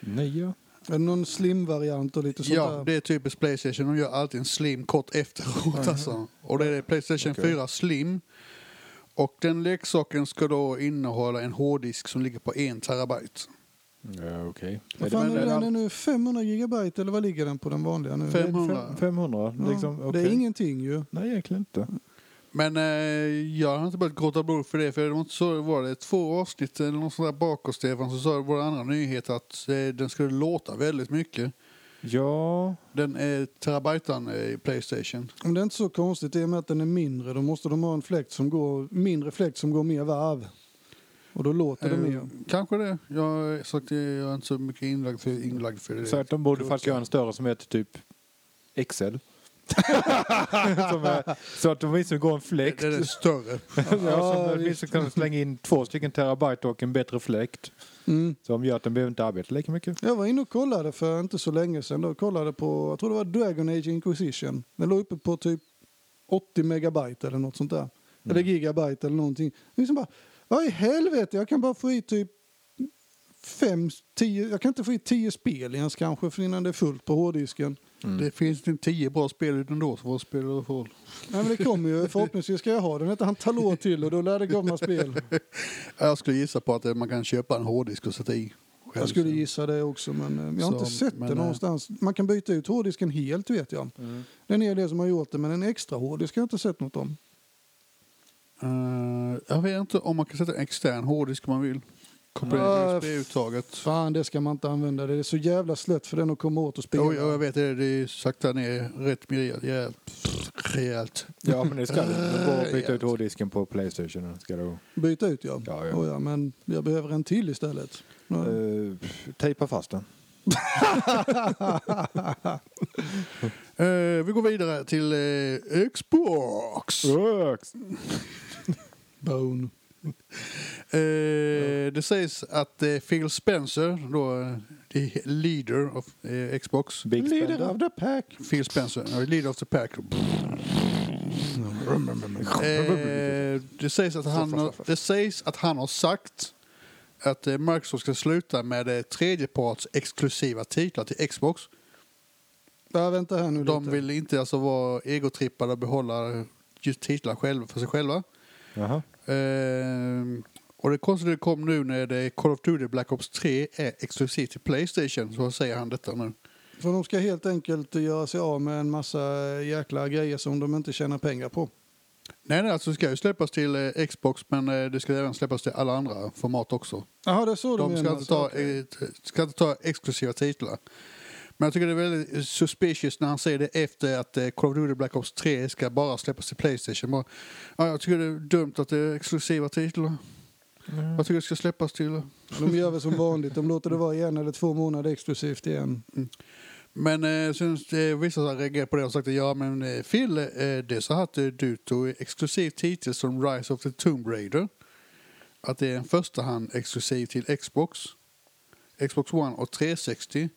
Nej, ja.
Är det någon slim-variant och lite sånt
Ja,
där?
det är typiskt Playstation. De gör alltid en slim kort efteråt. Alltså. Och det är Playstation
Okej.
4 slim. Och den leksaken ska då innehålla en hårddisk som ligger på en terabyte.
ja okej.
Vad
Men-
fan är
men-
den nu? 500 gigabyte eller vad ligger den på den vanliga nu?
Fem- 500?
Fem- 500,
Ja,
liksom. okej.
Det är ingenting ju.
Nej, egentligen inte.
Men eh, jag har inte börjat gråta blod för det, för det var, inte så, var det två avsnitt eller något sånt där bakåt, Stefan, så sa vår andra nyhet att eh, den skulle låta väldigt mycket.
Ja,
Den är terabajtan i Playstation.
Men det är inte så konstigt i och med att den är mindre. Då måste de ha en fläkt som går, mindre fläkt som går mer varv. Och då låter det
Eh,
mer.
Kanske det. Jag, sagt, jag är inte så mycket inlagd för, inlagd för det.
så att de borde faktiskt göra en större som heter typ Excel. som är, så att de åtminstone går en fläkt.
Den är större.
ja, som
visst.
åtminstone kan de slänga in två stycken terabyte och en bättre fläkt.
Mm.
Som gör att den behöver inte arbeta lika mycket.
Jag var inne och kollade för inte så länge sedan. Då kollade på, jag tror det var Dragon Age Inquisition. Den låg uppe på typ 80 megabyte eller något sånt där. Eller gigabyte eller någonting. Det är Liksom bara, vad i helvete, jag kan bara få i typ fem, tio, jag kan inte få i tio spel ens kanske för innan det är fullt på hårddisken.
Det finns inte tio bra spel utan då, så vad spelar det för roll?
Nej men det kommer ju, förhoppningsvis ska jag ha den ett antal år till och då lär det komma spel.
Jag skulle gissa på att eh, man kan köpa en hårddisk och sätta i. själv.
Jag skulle gissa det också, men eh, jag har
Så,
inte sett
men,
det
eh, Mm.
någonstans. Man kan byta ut hårddisken helt, vet jag. Den är det som har gjort det, men en extra hårddisk har jag inte sett något om.
Eh, jag vet inte om man kan sätta en extern hårddisk om man vill. Koppla
Ah,
in
f-
USB-uttaget.
Fan, det ska man inte använda. Det är så jävla slött för den att komma åt och spela.
Jo, jo, jag vet det. Det är sakta ner rätt rejält. Rejält. rejält.
Ja, men det ska det. De bara byta ut hårddisken på Playstation. Ska du
Byta ut, ja.
Ja, ja.
Oh, ja. Men jag behöver en till istället. Ja.
eh, tejpa fast den.
Eh, vi går vidare till eh, Xbox.
Bone.
Eh, Det sägs att eh, Phil Spencer, då, eh, the leader of eh, Xbox.
Big
Leader of
spender.
the pack.
Phil Spencer, ja, leader of the pack. Eh, det, sägs att han har, det sägs att han har sagt att eh, Microsoft ska sluta med eh, tredjeparts exklusiva titlar till Xbox.
Ja, vänta här nu
De
lite.
vill inte alltså vara egotrippade och behålla just titlar själva för sig själva.
Jaha.
Ehm, och det konstiga det kom nu när det är Call of Duty Black Ops 3 är exklusivt till Playstation så säger han detta nu.
För de ska helt enkelt göra sig av med en massa jäkla grejer som de inte tjänar pengar på.
Nej, nej, alltså det ska ju släppas till eh, Xbox men eh, det ska även släppas till alla andra format också.
Jaha, det är så de,
De ska
menar.
inte, ta,
Okej.
eh, t- ska inte ta exklusiva titlar. Men jag tycker det är väldigt eh, suspicious när han säger det efter att eh, Call of Duty Black Ops 3 ska bara släppas till Playstation. Bara, ja, jag tycker det är dumt att det är exklusiva titlar. Jag tycker det ska släppas till.
De gör väl som vanligt, de låter det vara i en eller två månader exklusivt igen.
Men eh, sen eh, vissa har reagerat på det och sagt att ja men eh, Phil, eh, det är så här att eh, du tog exklusiv titel som Rise of the Tomb Raider. Att det är en första hand exklusiv till Xbox, Xbox One och 360.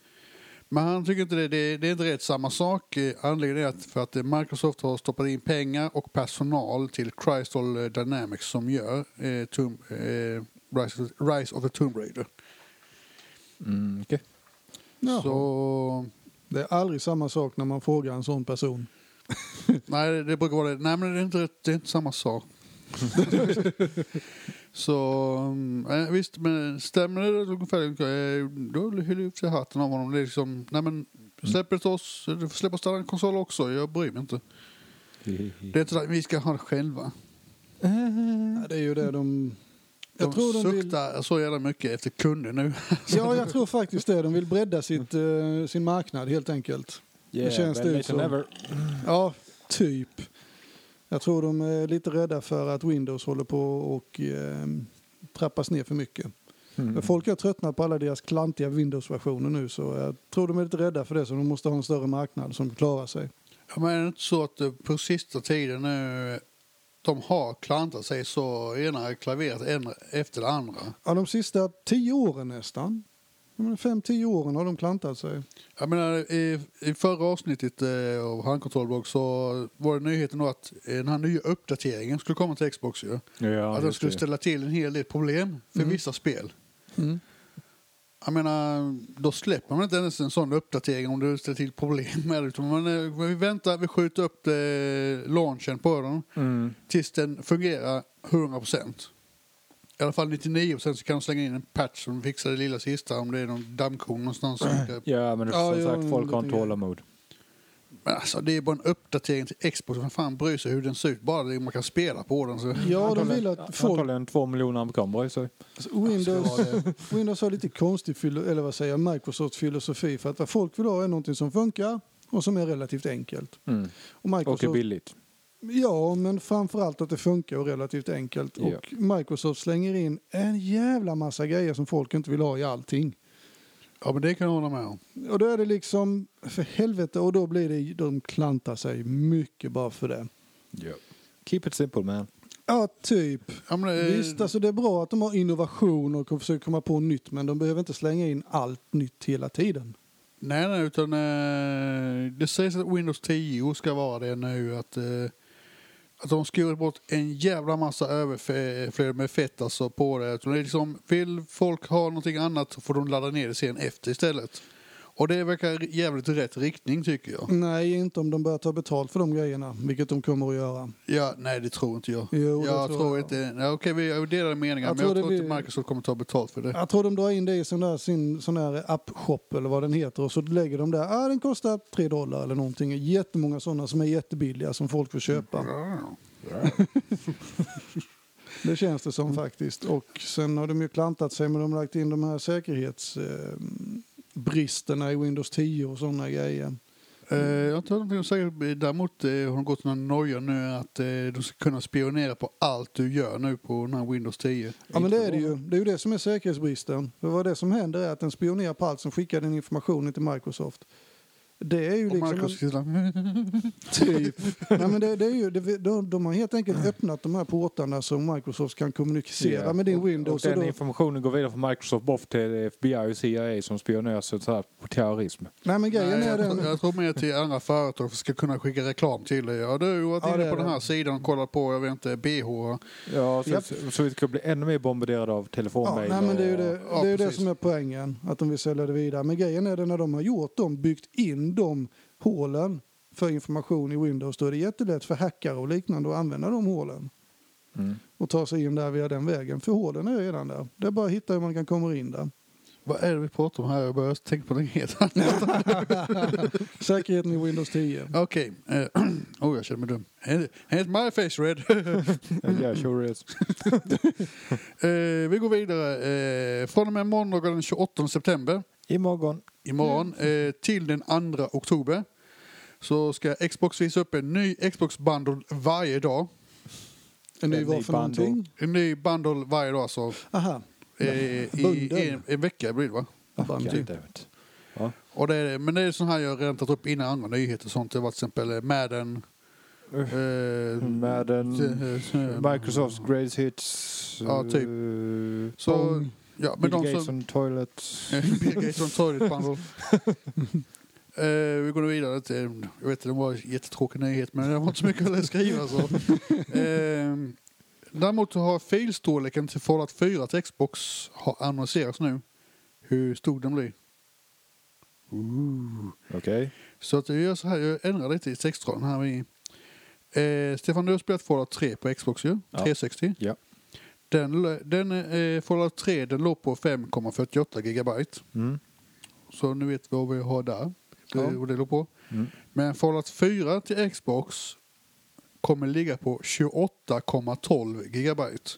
Men han tycker inte det, det, det är inte rätt samma sak. Eh, Anledningen är att för att eh, Microsoft har stoppat in pengar och personal till Crystal eh, Dynamics som gör eh, Tomb- eh, Rise, of, Rise of the Tomb Raider.
Mm, okej.
Jaha.
Så
Det är aldrig samma sak när man frågar en sån person.
Nej, det- det brukar vara det. Nej, men det är inte, det är inte samma sak. så mm, eh, visst, men stämmer det ungefär, eh, då hyller jag upp sig i hatten av honom. Det är liksom, nej men släpper det till oss, du får släppa oss till annan konsol också, jag bryr mig inte.
Eh,
Det är inte så att vi ska ha det själva.
Ja, Det är ju det de... Mm. Jag
de
tror de vill...
suktar så jävla mycket efter kunder nu.
Ja, jag tror faktiskt det. De vill bredda sitt, eh, sin marknad helt enkelt.
Yeah,
känns
better
det ut
late
som.
than never.
Ja, typ. Jag tror de är lite rädda för att Windows håller på och eh, trappas ner för mycket. Men Folk har tröttnat på alla deras klantiga Windows-versioner nu så jag tror de är lite rädda för det så de måste ha en större marknad som klarar sig.
Ja, men är det inte så att eh, på sista tiden nu, eh, de har klantat sig så ena klaveret en- efter det andra.
Ja, de sista tio åren nästan. Ja, men Fem, tio åren har de klantat sig.
Jag menar, i, I förra avsnittet eh, av handkontrollblogg så var det nyheten då att eh, den här nya uppdateringen skulle komma till Xbox. Ju.
Ja,
att den
just
skulle
det. Mm.
ställa till en hel del problem för vissa spel.
Mm.
Jag menar, då släpper man inte ens en sån uppdatering om det ställer till problem med det. Utan man, eh, vi väntar, vi skjuter upp eh, launchen på den
Mm.
tills den fungerar 100%. I alla fall 99 så kan de slänga in en patch som fixar det lilla sista om det är någon dammkorn någonstans. Som inte...
Ja, men
Ja,
som
jo,
sagt, folk
det
har inte
tänker jag.
tålamod.
Men alltså det är bara en uppdatering till Xbox. Vem fan bryr sig hur den ser ut? Bara det man kan spela på den. Så.
Ja, de vill
Ja,
att folk...
Antagligen två miljoner amerikaner bryr sig.
alltså, Windows, Windows har lite konstig, filo- eller vad säger jag, Microsofts filosofi. För att vad folk vill ha är någonting som funkar och som är relativt enkelt.
Mm.
Och Microsoft,
Och är billigt.
Ja, men framförallt att det funkar och relativt enkelt.
Ja.
Och Microsoft slänger in en jävla massa grejer som folk inte vill ha i allting.
Ja men det kan jag hålla med om.
Och då är det liksom, för helvete, och då blir det, de klantar sig mycket bara för det.
Ja. Keep it simple man.
Ja, typ.
Ja, men, eh, det-
Visst, alltså det är bra att de har innovation och försöker komma på nytt, men de behöver inte slänga in allt nytt hela tiden.
Nej, nej, utan eh, det sägs att Windows 10 ska vara det nu. Att, eh, att de skurit bort en jävla massa överflöd med fett alltså, på det. Utan det är liksom, vill folk ha någonting annat så får de ladda ner det sen efter istället. Och det verkar jävligt i rätt riktning tycker jag.
Nej, inte om de börjar ta betalt för de grejerna, vilket de kommer att göra.
Ja, nej, det tror inte jag.
Jo, det
jag
tror
tror,
jag.
inte... Ja, okej, vi jag delar meningar, men
Jag tror
jag
det
tror inte
blir-
Microsoft kommer ta betalt för det.
Jag tror de drar in det i sån där, sin sån där app-shop eller vad den heter och så lägger de där, ah, den kostar 3 dollar eller någonting. Jättemånga sådana som är jättebilliga som folk får köpa. Det känns det som faktiskt. Och sen har de ju klantat sig med de har lagt in de här säkerhetsbristerna i Windows 10 och sådana grejer.
Eh, jag har inte hört någonting om säkert. Däremot eh, har de gått några noja nu att eh, de ska kunna spionera på allt du gör nu på den här Windows 10.
Ja men det är det ju. Det är ju det som är säkerhetsbristen. För vad det som händer är att den spionerar på allt som skickar den informationen till Microsoft. Det är ju
Och
liksom... en-
Microsoft sitter-
Typ. Nej, men det, det är ju, det, de, de har helt enkelt öppnat de här portarna så Microsoft kan kommunicera
Ja.
med din
Och-
Windows.
Och
Och
den
då,
informationen går vidare från Microsoft bort till FBI och CIA som spionerar sånt här på terrorism.
nej, men grejen
Nej,
är
jag,
den...
tror- jag tror mer till andra företag som ska kunna skicka reklam till dig. Ja, du har varit
Ja, det
inne
är
på den
det.
här sidan och kollat på, jag vet inte, BH.
Ja, så,
Japp.
så, så vi ska bli ännu mer bombarderade av
Ja,
telefonmejl.
nej, men det är ju
och-
det,
Ja,
det, är ju det
precis.
som är poängen, att de vill sälja det vidare. Men grejen är det när de har gjort dem, byggt in de hålen för information i Windows, då är det jättelätt för hackare och liknande att använda de hålen
Mm.
och ta sig in där via den vägen. För hålen är redan där. Det är bara att hitta hur man kan komma in där.
Vad är det vi pratar om här? Jag börjar tänka på något helt annat.
Säkerheten i Windows 10.
Okej. eh, oh, jag känner mig dum. Ain't my face red. Mm.
Yeah, sure is.
Eh, vi går vidare. Eh, från och med måndagen den 28 september,
Imorgon.
imorgon,
Mm.
eh, till den 2 oktober så ska Xbox visa upp en ny Xbox Bundle varje dag.
En ny
En
vad
ny
för
bundle.
någonting?
En ny Bundle varje dag alltså.
Aha.
Eh, i
Bundle.
en, en vecka blir det va?
Bundle.
typ.
God damn it. Ja.
Och det är, men det är sån här jag har rentat upp innan andra nyheter och sånt. Det var till exempel eh, Madden.
Uff. Mm.
eh,
Madden,
eh, eh,
Microsofts greatest hits.
Ja, typ.
eh,
Så, ja, men
Bill
de
Gates
som... Eh.
on toilet.
Bill Gates on toilet bundle. Eh, vi går nu vidare till, jag vet inte, det var en jättetråkig nyhet men det var inte så mycket att skriva. Så. Eh, däremot har filstorleken till Fallout 4 till Xbox har annonserats nu. Hur stor den blir.
Okej.
Så att jag gör så här, jag ändrar lite i textraden här. i. Eh, Stefan, du har spelat Fallout 3 på Xbox ju,
Ja.
360.
Ja.
Den, l- den eh, Fallout 3 den låg på 5,48 gigabyte.
Mm.
Så nu vet vi vad vi har där.
Ja.
Det, och det låg på.
Mm.
Men Fallout 4 till Xbox kommer ligga på 28,12 gigabyte.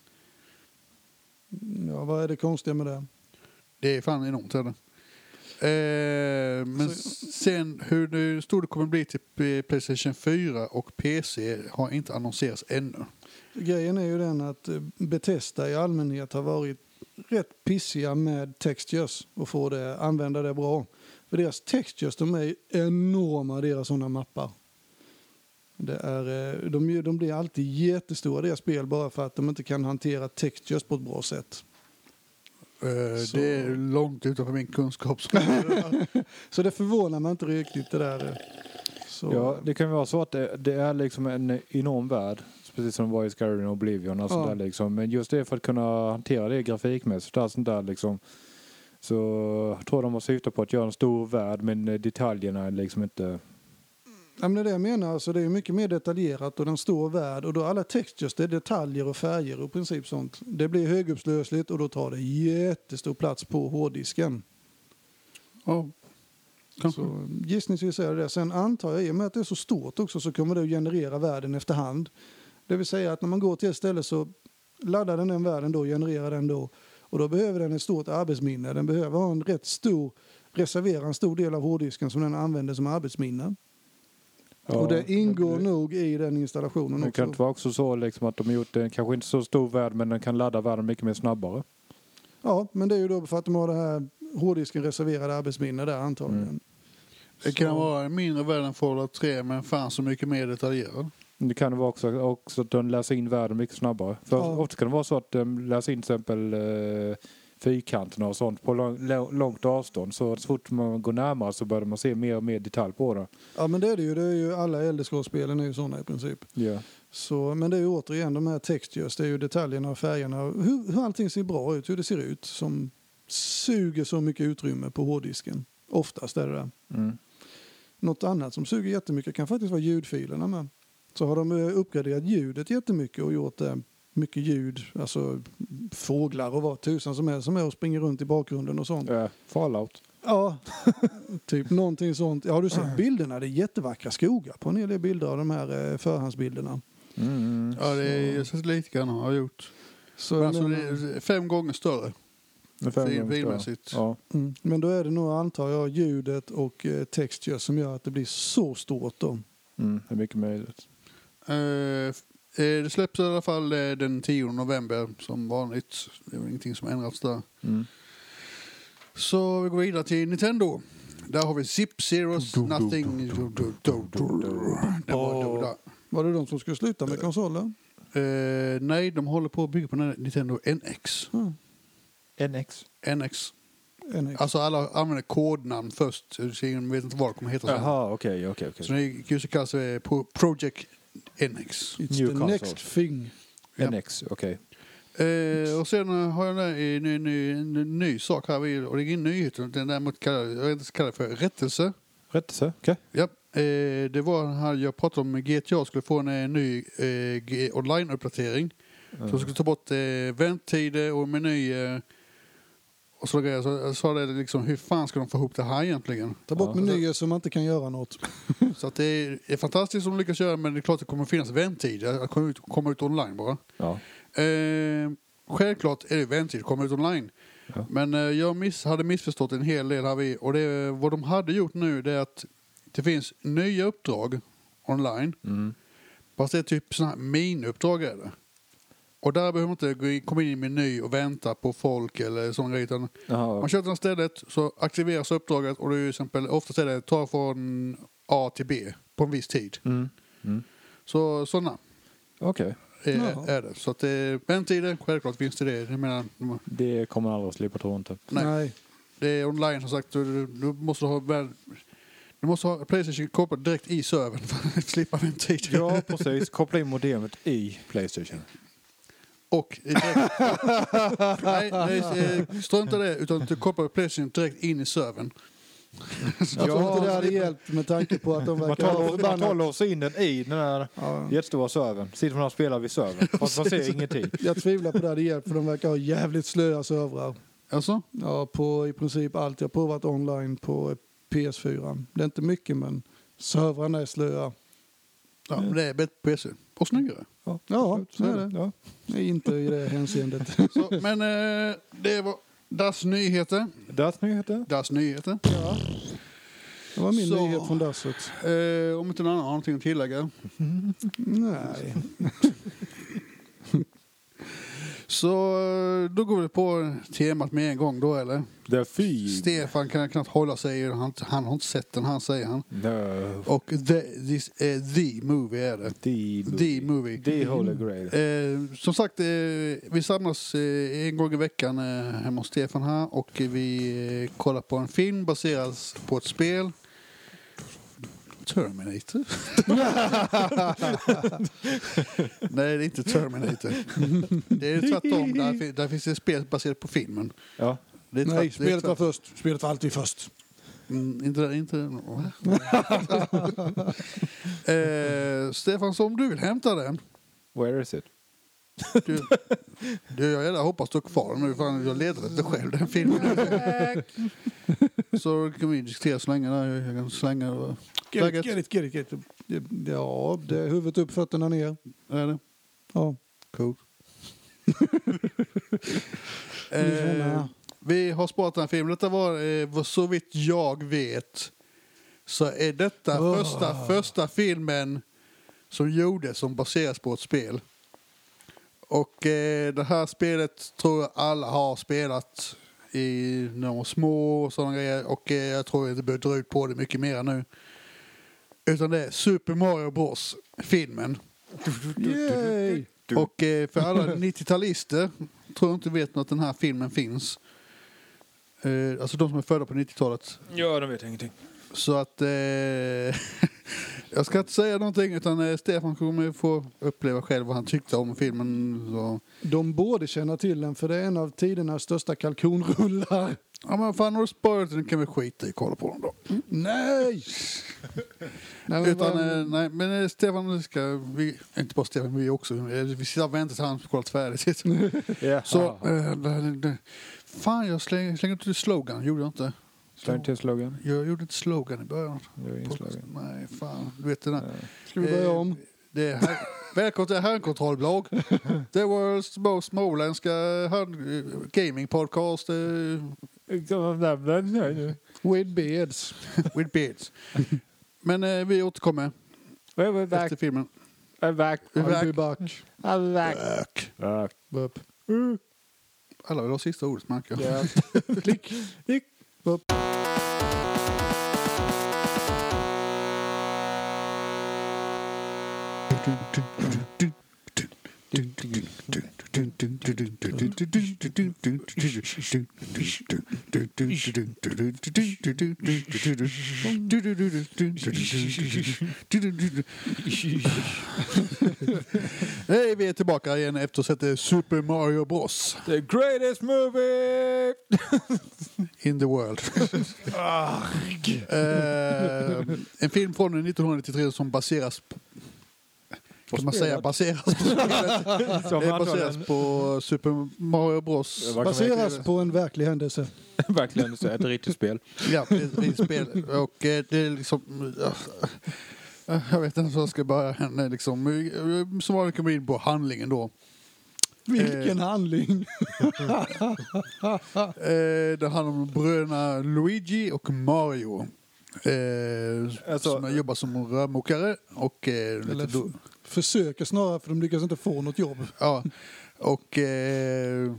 Ja, vad är det konstiga med det?
Det är fan enormt. Är det. Eh, men
Så-
sen hur nu stor det kommer bli till P- Playstation 4 och PC har inte annonserats ännu.
Grejen är ju den att eh, Bethesda i allmänhet har varit rätt pissiga med textures och få det, använda det bra. För deras textures, de är ju enorma, deras sådana mappar. Det är, eh, de, de blir alltid jättestora, deras spel, bara för att de inte kan hantera textures på ett bra sätt.
Eh,
Så.
Det är långt utanför min kunskapsområde.
Så det förvånar mig inte riktigt det där. eh. Så,
Ja, det kan ju vara så att det, det är liksom en enorm värld. Precis som det var i Skyrim och Oblivion. Alltså
Ja.
där liksom. Men just det för att kunna hantera det grafikmässigt och allt sånt där liksom. Så jag tror de har syftat på att göra en stor värld men eh, detaljerna är liksom inte...
Ja, men det är det jag menar. Alltså, det är mycket mer detaljerat och den står värld. Och då alla textures, det är detaljer och färger och i princip sånt. Det blir högupplösligt och då tar det jättestor plats på hårddisken.
ja, kanske.
Så mm, gissningsvis är det det. Sen antar jag, i och med att det är så stort också, så kommer det att generera världen efterhand. Det vill säga att när man går till ett ställe så laddar den den världen då, genererar den då. Och då behöver den ett stort arbetsminne. Den behöver ha en rätt stor, reservera en stor del av hårddisken som den använder som arbetsminne. och det ingår
det,
nog i den installationen
Det
också.
kan inte vara också så liksom att de har gjort en kanske inte så stor värld men den kan ladda världen mycket mer snabbare.
Ja, men det är ju då för att de har det här hårddisken reserverade arbetsminne där antagligen.
Mm.
Det
Så-
kan vara en mindre värld än Fallout 3 men fan så mycket mer detaljerad.
Det kan vara också, också att den läser in världen mycket snabbare. För
Ja.
ofta kan det vara så att den läser in till exempel eh, fyrkanterna och sånt på lång, lå- långt avstånd. Så så fort man går närmare så börjar man se mer och mer detalj på det.
Ja, men det är det ju. Det är ju alla äldreskålspelen är ju sådana i princip.
Ja.
Så, men det är ju återigen de här textures, det är ju detaljerna och färgerna. Hur, hur allting ser bra ut, hur det ser ut som suger så mycket utrymme på hårddisken. Oftast är det det.
Mm.
Något annat som suger jättemycket kan faktiskt vara ljudfilerna med. Så har de eh, uppgraderat ljudet jättemycket och gjort det mycket ljud, alltså fåglar och vad tusan som helst som är och springer runt i bakgrunden och sånt.
Eh, Fallout.
Ja, typ någonting sånt. Ja, har du sett bilderna? Det är jättevackra skogar på en hel del bilder av de här eh, förhandsbilderna.
Mm.
Ja, det är jag har sett lite grann har jag gjort.
Så
Men
jag
alltså, det
menar-
är fem gånger större
Ungefär
bil-
ungefär.
bilmässigt.
Ja.
Mm. Men då är det nog, antar jag, ljudet och eh, texture som gör att det blir så stort. Då.
Mm. Det är mycket möjligt.
Eh, f- eh, det släpps i alla fall eh, den 10 november som vanligt. Det är väl ingenting som ändrats där.
Mm.
Så vi går vidare till Nintendo. Där har vi Zip Zeros Nothing. Det var då där.
Var det de som skulle sluta med konsoler?
Eh, nej, de håller på att bygga på den här Nintendo NX.
Ja,
NX.
NX.
NX.
Alltså alla använder kodnamn först. Så ingen vet inte vad det kommer heta sen.
Jaha, okej, okej, okej.
Så det kan ju kallas för Pro- Project NX.
It's
new
the
console.
next thing.
ja.
NX, okej.
Eh, och sen eh, har jag en, en, en, en, en ny sak här. vid- Och det är ingen nyhet. utan Den däremot kallar, jag vet inte kallar det för rättelse.
Rättelse, okej.
Ja, eh, det var den här jag pratade om. GTA skulle få en eh, ny eh, G- online-uppdatering. Som skulle ta bort eh, vänttider och menyer. Och så grejer. Så jag sa det liksom, hur fan ska de få ihop det här egentligen?
Ta bort
Ja.
menyer så man inte kan göra något.
Så att det är, är fantastiskt som de lyckas göra men det är klart att det kommer finnas vänttider att komma ut, komma ut online bara.
Ja.
Eh, självklart är det väntetid att komma ut online.
Ja.
Men eh, jag miss, hade missförstått en hel del här vi. Och det, vad de hade gjort nu det är att det finns nya uppdrag online.
Mm.
Fast det är typ sådana här miniuppdrag är det. Och där behöver man inte gå in, komma in i en meny och vänta på folk eller sådana grejer. Utan
Jaha,
man
okej.
kör till det här stället så aktiveras uppdraget och det är ju exempel, oftast är det ta från A till B på en viss tid.
Mm. Mm.
Så sådana
Okej.
är,
Jaha.
är det. Så att det, väntetider, självklart finns det det. Jag menar,
Det kommer man aldrig att typ. slippa, tror jag inte.
Nej.
Nej.
det är online som sagt. Du, du- du måste ha väl, du måste ha Playstation kopplad direkt i servern för att slippa väntetider.
Ja, precis. Koppla in modemet i Playstation.
Och direkt, nej, nej, eh, strunta i det. Utan att du kopplar Playstation direkt in i servern.
Jag tror
Ja,
inte det hade
det-
hjälpt med tanke på att de
Man
verkar
tar,
vara
lås- man tar
förbannade.
låser in den i den där
Ja.
jättestora servern. Sitter man och spelar vid servern. Fast man ser ingenting.
Jag tvivlar på det hade hjälpt för de verkar ha jävligt slöa servrar.
Alltså?
Ja, på i princip allt jag provat online på PS4. Det är inte mycket men servrarna är slöa.
Ja, men det är bättre på PC. Och snyggare.
Ja,
Ja,
absolut.
så är det.
Ja.
Nej, inte i det hänseendet.
Så, men eh, det var Das nyheter.
Death nyheter.
Das nyheter.
Ja. Det var min
Så.
nyhet från dasset.
Eh, om inte någon annan har någonting att tillägga.
Nej.
Så eh, då går vi på temat med en gång då eller?
The Feed.
Stefan kan knappt hålla sig, han, han har inte sett den, han säger han.
No.
Och the, this, eh, the movie är det.
The
The
movie.
movie.
The Holy Grail.
Eh, som sagt, eh, vi samlas eh, en gång i veckan eh, hemma hos Stefan här och vi eh, kollar på en film baserad på ett spel. Terminator? Nej, det är inte Terminator. Det är tvärtom. Där, fin- där finns det spel baserat på filmen.
Ja.
Det är
Nej,
tvärt- det är
spelet var först. Spelet var alltid först.
Mm, inte, inte, va? eh, Stefan, så om du vill hämta den.
Where is it?
Du, du, jag jävla hoppas du är kvar nu. Fan, jag letar efter själv den filmen. så kan vi diskutera så länge. Där. Jag kan slänga det.
Get
Tacket.
it, get it, get it, get it. Det- Ja, det är huvudet upp, fötterna ner.
Är det?
Ja.
Cool. eh,
Lyssna.
vi har sparat den här filmen. Detta var, eh, vad- så vitt jag vet, så är detta
Oh.
första, första filmen som gjordes som baseras på ett spel. Och eh, det här spelet tror jag alla har spelat i när de var små och sådana grejer. Och eh, jag tror inte behöver dra ut på det mycket mer nu. Utan det är Super Mario Bros, filmen.
Yay!
Du-
Och eh, för alla 90-talister tror jag inte vet att den här filmen finns. Eh, alltså de som är födda på 90-talet.
Ja, de vet ingenting.
Så att eh, jag ska inte säga någonting utan eh, Stefan kommer få uppleva själv vad han tyckte om filmen. Så.
De borde känna till den, för det är en av tidernas största kalkonrullar.
Ja men fan har du sparat den kan vi skita i och kolla på den då.
Nej! Nej, men
Utan,
vad-
eh, nej, men eh, Stefan ska, vi, inte bara Stefan, vi också, eh, vi sitter och väntar tills han har kollat färdigt.
Yeah.
Så,
Så.
eh, det- det- fan jag slänger, slänger inte ut slogan, gjorde jag inte.
Slå inte till slogan.
Jag gjorde inte slogan i början.
Det är ingen slogan.
Nej, fan. Du vet den där.
Ska vi börja
eh,
om?
Det är här, välkommen till Handkontrollblogg. The world's most småländska hand, gaming podcast eh,
With beards.
with beards. Men eh, vi återkommer efter filmen.
I'm back.
I'll
Back.
be back.
I'm back.
Öck.
Back.
Upp.
Alla vill ha sista ordet märker jag.
Yeah.
Klick.
Klick.
Upp.
Hej, vi är tillbaka igen efter att ha sett eh, Super Mario Bros.
The greatest movie!
In the world. Eh, en film från 1993 som baseras på, kan man säga baseras på,
Som
eh,
antagligen-
baseras på Super Mario Bros.
Vad kan man
Baseras på en verklig händelse.
Verkligen så är det ett riktigt spel.
Ja, det är ett spel. Och eh, det är liksom... eh, Jag vet inte hur jag ska börja. Nej, liksom, eh, som vanligt kommer vi in på handlingen då.
Vilken handling!
Eh, det handlar om bröderna Luigi och Mario. Eh,
Alltså-
som jobbar som rörmokare och eh, lite
Eller
då,
f- försöker snarare, för de lyckas inte få något jobb.
ja, och eh,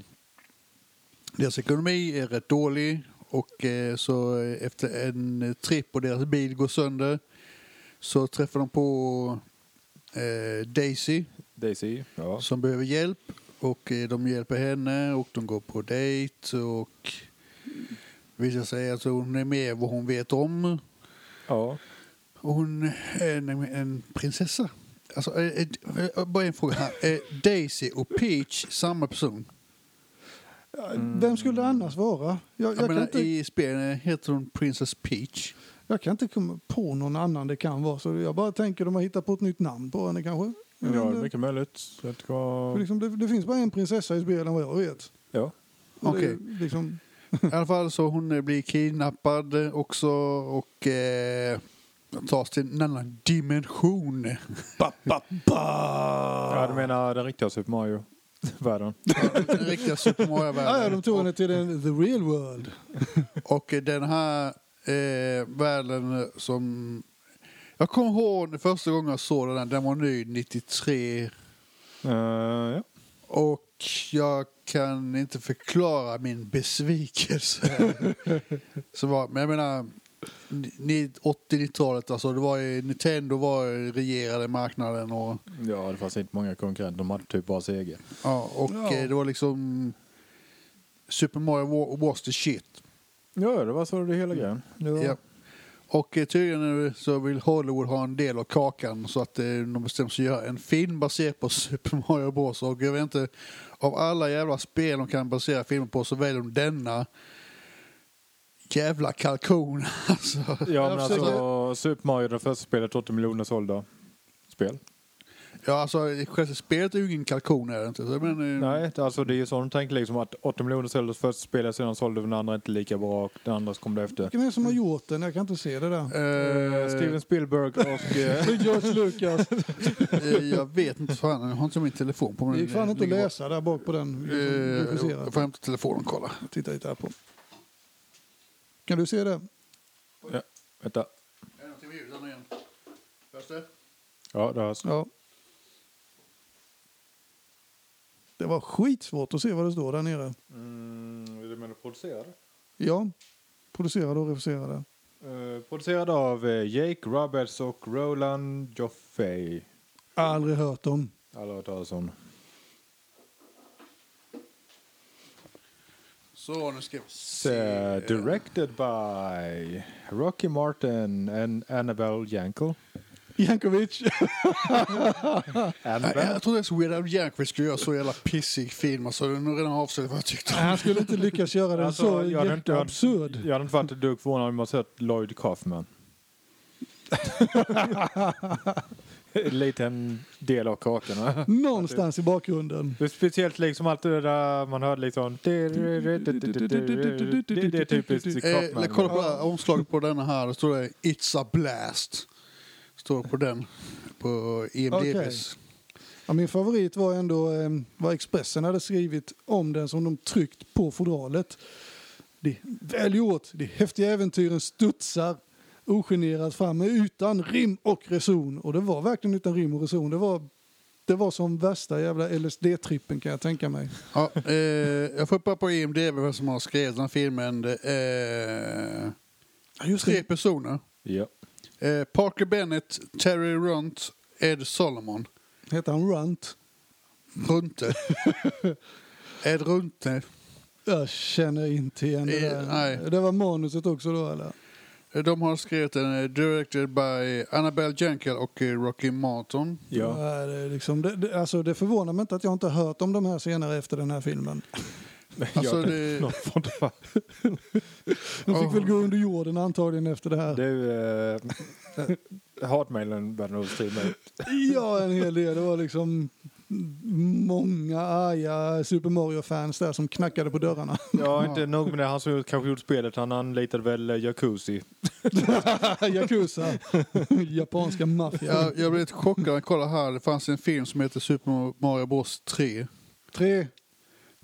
deras ekonomi är rätt dålig och eh, så efter en tripp och deras bil går sönder så träffar de på eh, Daisy
Daisy. Ja.
som behöver hjälp och eh, de hjälper henne och de går på dejt och visar sig att hon är med vad hon vet om.
ja.
Och Hon är en, en prinsessa. Alltså, eh, eh, eh, bara en fråga här. Är Daisy och Peach samma person?
Vem skulle det annars vara? Jag,
Jag,
jag, kan,
menar,
inte,
i spelen heter hon Princess Peach.
jag kan inte komma på någon annan det kan vara. Så jag bara tänker de har hittat på ett nytt namn på henne kanske.
Ja,
Jag
det
vet
är
inte.
mycket möjligt. Så att det
För
kan-
liksom, det, det finns bara en prinsessa i spelen vad jag vet.
Ja.
Och det är Liksom,
I alla fall så hon eh, blir kidnappad eh, också och eh, tas till en annan dimension. Ba, ba, ba.
ja, du menar den riktiga Super Mario-världen?
Den riktiga Super
ja, ja,
Mario-världen.
de tog henne till den, the real world.
Och den här eh, världen som... Jag kommer ihåg den första gången jag såg den, här, den var ny 93.
Eh, ja.
Och jag kan inte förklara min besvikelse. Som var, men jag menar, ni- 80-90-talet, alltså, det var ju, Nintendo var ju regerade marknaden och,
Ja, det fanns inte många konkurrenter. De hade typ bara seger.
ja, och
Ja.
eh, det var liksom Super Mario wa- was the shit.
Ja, det var så det hela grejen. Det var...
Ja. Och eh, tydligen nu så vill Hollywood ha en del av kakan så att eh, de bestämmer sig göra en film baserad på Super Mario Bros. Och jag vet inte, av alla jävla spel de kan basera filmer på så väljer de denna jävla kalkon. Alltså.
Ja, men
Jag
alltså
försöker-
Super Mario, det första spelet, 80 miljoner sålda spel.
Ja, alltså själva spelet är ju ingen kalkon är det inte. Så, men, eh,
Nej, det- alltså det är ju så de tänker liksom att 80 miljoner såldes första spelet, sedan sålde den andra inte lika bra och den andra kom det efter.
Vilken är det som har gjort den? Jag kan inte se det där.
Eh,
eh,
Steven Spielberg och... eh,
George Lucas.
eh, jag vet inte, fan, jag har inte min telefon på mig.
Det gick fan inte att
Ligger bort.
läsa där bak på den.
Eh, jo,
Fokuserat.
jag får hämta telefonen och kolla.
Titta lite här på. Kan du se det?
ja, vänta.
Är det någonting med ljudet nu igen? Hörs det?
Ja, det hörs.
Ja. Det var skitsvårt att se vad det står där nere.
Mm, du menar producerad?
Ja, producerade och refuserade.
Eh, producerad av eh, Jake Roberts och Roland Joffey.
Aldrig hört dem.
Alla har hört talas om.
Så, nu ska vi
It's, eh, directed by Rocky Martin and Annabelle Jankel.
Jankovic.
Nej,
Annabelle?
jag trodde ens Weird Al Yankovic skulle göra så jävla pissig film. Alltså, den har redan avslöjat vad jag tyckte.
Han skulle inte lyckas göra den
Alltså,
så
jag hade inte-
jätteabsurd.
Jag hade inte varit ett dugg förvånad om jag sett Lloyd Kaufman. en liten del av kakan. va?
Någonstans i bakgrunden.
Det är Speciellt liksom allt det där man hörde liksom... Det är typiskt
Eh, eller kolla
Kaufman.
på det här, omslaget på denna här. Det står det It's a blast. Står det på den. På IMDBs.
Ja, min favorit var ändå eh, vad Expressen hade skrivit om den som de tryckt på fodralet. Det är väl gjort. De häftiga äventyren studsar ogenerat fram utan rim och reson. Och det var verkligen utan rim och reson. Det var, det var som värsta jävla LSD-trippen kan jag tänka mig.
Ja, eh, jag får upp här på IMDB vem som har skrivit den här filmen. Det är
Ja, just
tre
det.
personer.
Ja.
Eh, Parker Bennett, Terry Runt, Ed Solomon.
Hette han Runt?
Runte. Ed Runte.
Jag känner inte igen det
Eh,
där.
nej.
Det var manuset också då eller?
De har skrivit den eh, directed by Annabelle Jankel och eh, Rocky Martin.
ja.
Nej, det, är liksom, det, det, alltså, det förvånar mig inte att jag inte har hört om de här senare efter den här filmen.
Alltså,
Jag-
det-
någon form av-
De fick
Ja.
väl gå under jorden antagligen efter det här.
Du, eh, hatmailen bär nog till mig.
Ja, en hel del. Det var liksom många arga Super Mario-fans där som knackade på dörrarna.
Ja, inte nog med det. Han som kanske gjort spelet, han anlitade väl eh, Jacuzzi.
Yakuza, japanska maffian.
Jag, jag blev lite chockad när jag kollade här. Det fanns en film som heter Super Mario Bros 3.
Tre.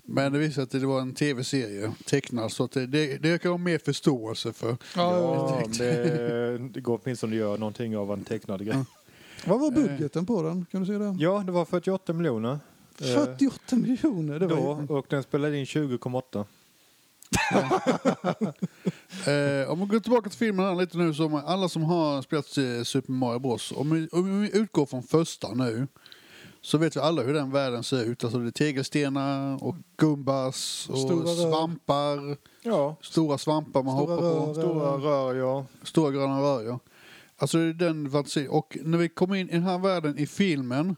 Men det visade sig att det var en tv-serie, tecknad. Så att det, det, det kan jag ha mer förståelse för.
Ja, men det, det går åtminstone att göra någonting av en tecknad grej.
Vad var budgeten på den? Kan du se det?
Ja, det var 48 miljoner. eh,
48 miljoner. Det var
Då, och den spelade in 20,8.
Eh, om vi går tillbaka till filmen här lite nu. Som alla som har spelat eh, Super Mario Bros. Om vi, om vi utgår från första nu. Så vet vi alla hur den världen ser ut. Alltså det är tegelstenar och gumbas och
Stora rör.
svampar.
Ja.
Stora svampar man
Stora
hoppar på.
rör.
Stora rör, ja.
Stora gröna rör, ja. Alltså det är den fantasin. Och när vi kommer in i den här världen i filmen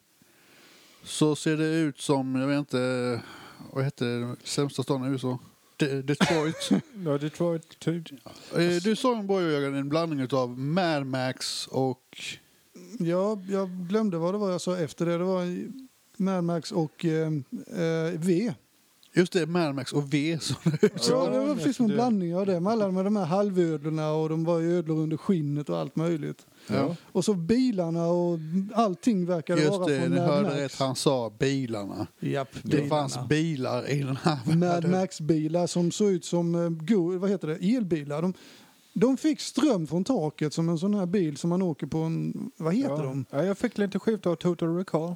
så ser det ut som, jag vet inte, vad hette den sämsta staden i USA? De- Detroit.
Ja, Detroit. typ.
Eh, du sa en borgerjägare, en blandning av Mad Max och...
Ja, jag glömde vad det var jag sa efter det. Det var Mad Max och eh, eh, V.
Just det, Mad Max och V. som det är.
Så det var precis som en blandning av det. Med alla med de här halvödlorna och de var ju ödlor under skinnet och allt möjligt.
Ja.
Och så bilarna och allting verkade
Just
vara
det,
från
ni
Mad
hörde
Max.
rätt, han sa bilarna.
Japp,
Det fanns bilar i den här
Mad
världen.
Max-bilar som såg ut som eh, go, vad heter det? elbilar. De, de fick ström från taket som en sån här bil som man åker på en... Vad heter
Ja.
de?
Ja, jag fick lite skit av Total Recall.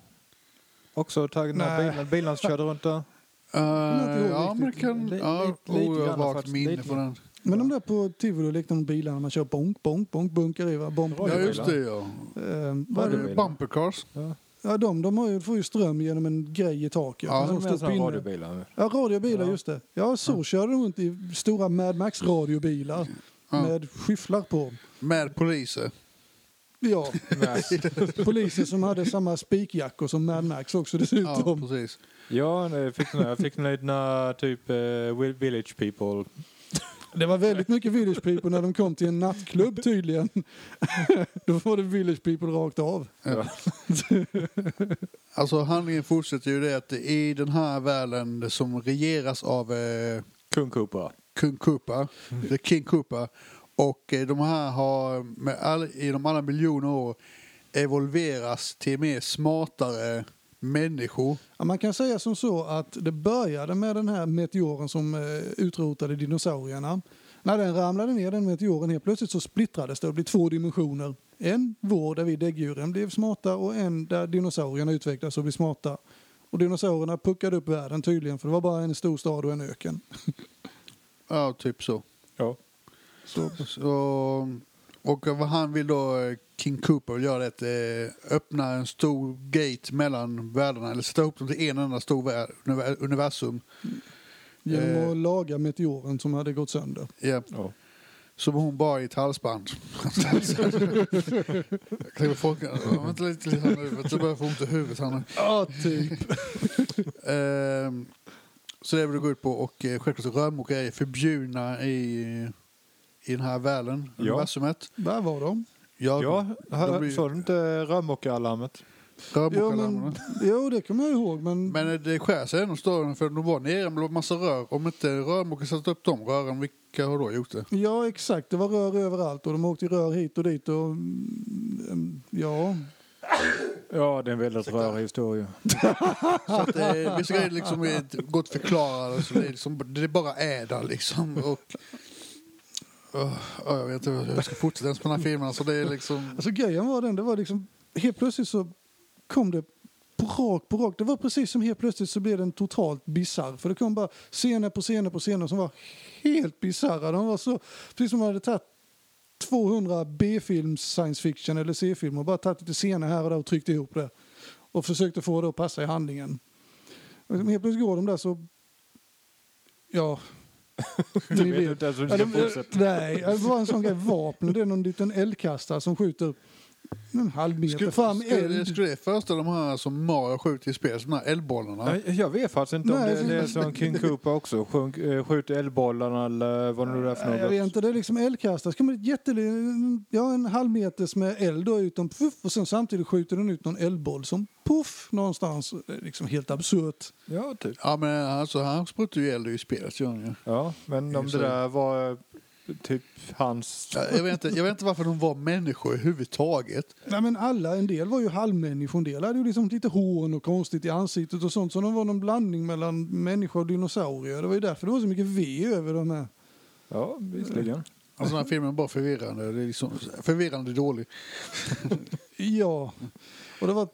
Också tagen
Nej.
av bilen. Bilen som körde runt där.
Eh,
inte ihåg
ja, men det
riktigt.
kan...
Li-
Ja,
li- lite
oh, jag har
grann
vagt
faktiskt,
minne
lite
på den.
Men de där på tivolilektorn bilarna man kör bonk, bonk, bonk, bunkar i va? Bonk,
Oj,
Ja,
oj,
just
oj.
det ja.
Eh, vad är det?
Eh, Bumper cars.
Ja.
Ja, de, de har ju, får ju ström genom en grej i taket.
Ja,
en sån
de är
stor
sådana
pinne.
radiobilar.
Ja, radiobilar,
Ja.
just det. Ja, så kör de runt i stora Mad Max-radiobilar
Ja.
med skyfflar på.
Med poliser.
Ja, polisen som hade samma spikjackor som Mad Max också
Ja,
dessutom.
precis.
Ja, jag fick den här. Jag fick den här, den här typ eh, Will- Village People.
Det var väldigt mycket Village People när de kom till en nattklubb tydligen. Då var det Village People rakt av.
Alltså handlingen fortsätter ju det att i den här världen som regeras av eh,
Kung Cooper.
kung Koopa, the King Koopa, och eh, de här har med all, genom alla miljoner år evolveras till mer smartare människor.
Ja, man kan säga som så att det började med den här meteoren som eh, utrotade dinosaurierna. När den ramlade ner, den meteoren, helt plötsligt så splittrades det och blev två dimensioner. En vår där vi däggdjuren blev smarta och en där dinosaurierna utvecklades och blev smarta. Och dinosaurierna puckade upp världen tydligen för det var bara en stor stad och en öken.
Ja, typ så.
Ja.
så. så och vad han vill då, eh, King Koopa vill göra det att eh, öppna en stor gate mellan världarna, eller sätta ihop dem till en enda stor värld, univer- universum.
Genom
Eh.
att laga meteoren som hade gått sönder.
Ja.
ja.
Som hon bar i ett halsband. Jag kliver folk... Ja, Vänta lite, lite här nu, för att jag börjar få ont i huvudet här nu.
Ja, typ.
Ehm, så det vill du gå ut på. Och eh, självklart så rörmokare är förbjudna i, i den här världen,
Ja.
universumet.
Där var de.
Ja,
ja
de
hör,
blir-
såg du inte rörmokaralarmet?
Jo,
rörmokalarmerna.
men, jo, det kommer jag ihåg, men
Men eh, det skär sig ändå storyn för de var nere med en massa rör. Om inte rörmokaren satt upp de rören, vilka har då gjort det?
Ja, exakt. Det var rör överallt och de åkte i rör hit och dit. Och, mm, ja,
Ja, det är en väldigt rörig historia.
Så att eh, vissa grejer liksom är gott förklarade. Så det, är liksom, det bara är där liksom. Och, Öh, jag vet inte hur jag ska fortsätta ens på den här filmen. Så det är liksom...
alltså grejen var den, det var liksom helt plötsligt så kom det på rak på rak. Det var precis som helt plötsligt så blev den totalt bisarr. För det kom bara scener på scener på scener som var helt bisarra. De var så, precis som man hade tagit 200 B-films science fiction eller C-film och bara tagit lite scener här och där och tryckt ihop det. Och försökte få det att passa i handlingen. Och helt plötsligt går de där så... Ja...
Du vet inte ens hur du ska
Ja, de,
fortsätta.
nej, det var en sån grej. Vapen, det är någon liten eldkastare som skjuter en halv meter
Skulle,
fram
skulle,
eld.
skulle det föreställa de här som Mario skjuter i spel, de här eldbollarna?
Nej, Jag vet faktiskt inte om
Nej,
det, det är som King Cooper också. Sjunk, eh, skjut eldbollarna eller vad nu det är för
Nej, Jag
något.
vet inte, det är liksom eldkastare. Ska man ett jätteli- ja, en halv meters med eld då utom puff och sen samtidigt skjuter den ut någon eldboll som puff någonstans. Det är liksom helt absurt.
Ja, typ.
Ja men alltså han sprutar ju eld i spelet gör han ju.
Ja, men om det där var eh, typ hans...
Ja, Jag vet, inte, jag vet inte varför de var människor överhuvudtaget.
Nej, men alla, en del var ju halvmänniskor, en del hade ju liksom lite horn och konstigt i ansiktet och sånt. Så de var någon blandning mellan människa och dinosaurier. Det var ju därför det var så mycket V över de här.
Ja, visserligen.
Alltså den här filmen är bara förvirrande. Det är liksom förvirrande dålig.
Ja, och det var...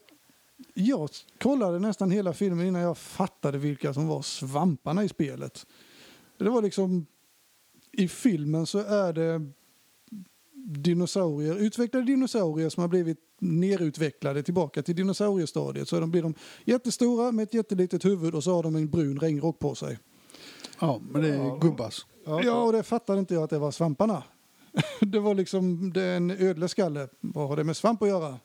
Jag kollade nästan hela filmen innan jag fattade vilka som var svamparna i spelet. Det var liksom... I filmen så är det dinosaurier, utvecklade dinosaurier som har blivit nerutvecklade tillbaka till dinosauriestadiet. Så de blir de jättestora med ett jättelitet huvud och så har de en brun regnrock på sig.
Ja men det är gubbas.
Ja, och det fattade inte jag att det var svamparna. Det var liksom, det är en ödleskalle. Vad har det med svamp att göra?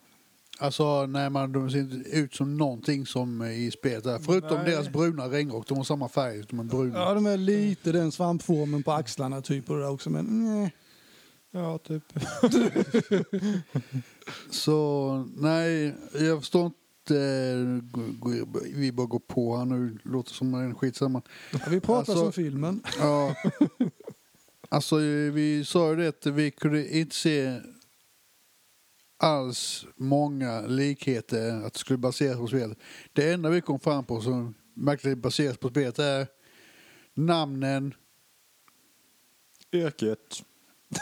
Alltså när man, de ser inte ut som någonting som i spelet är. Förutom
Nej.
deras bruna regnrock, de har samma färg de är bruna.
Ja, de är lite den svampformen på axlarna typ och det där också, men nej.
Ja, typ.
Så nej, jag förstår inte. eh, g- g- Vi bara går på här nu, låter som en skitsamma.
Vi pratar
Alltså-
som filmen.
Ja. Alltså eh, vi sa ju det att vi kunde inte se alls många likheter att det skulle baseras på spelet. Det enda vi kom fram på som märkligt baseras på spelet är namnen,
Yrket.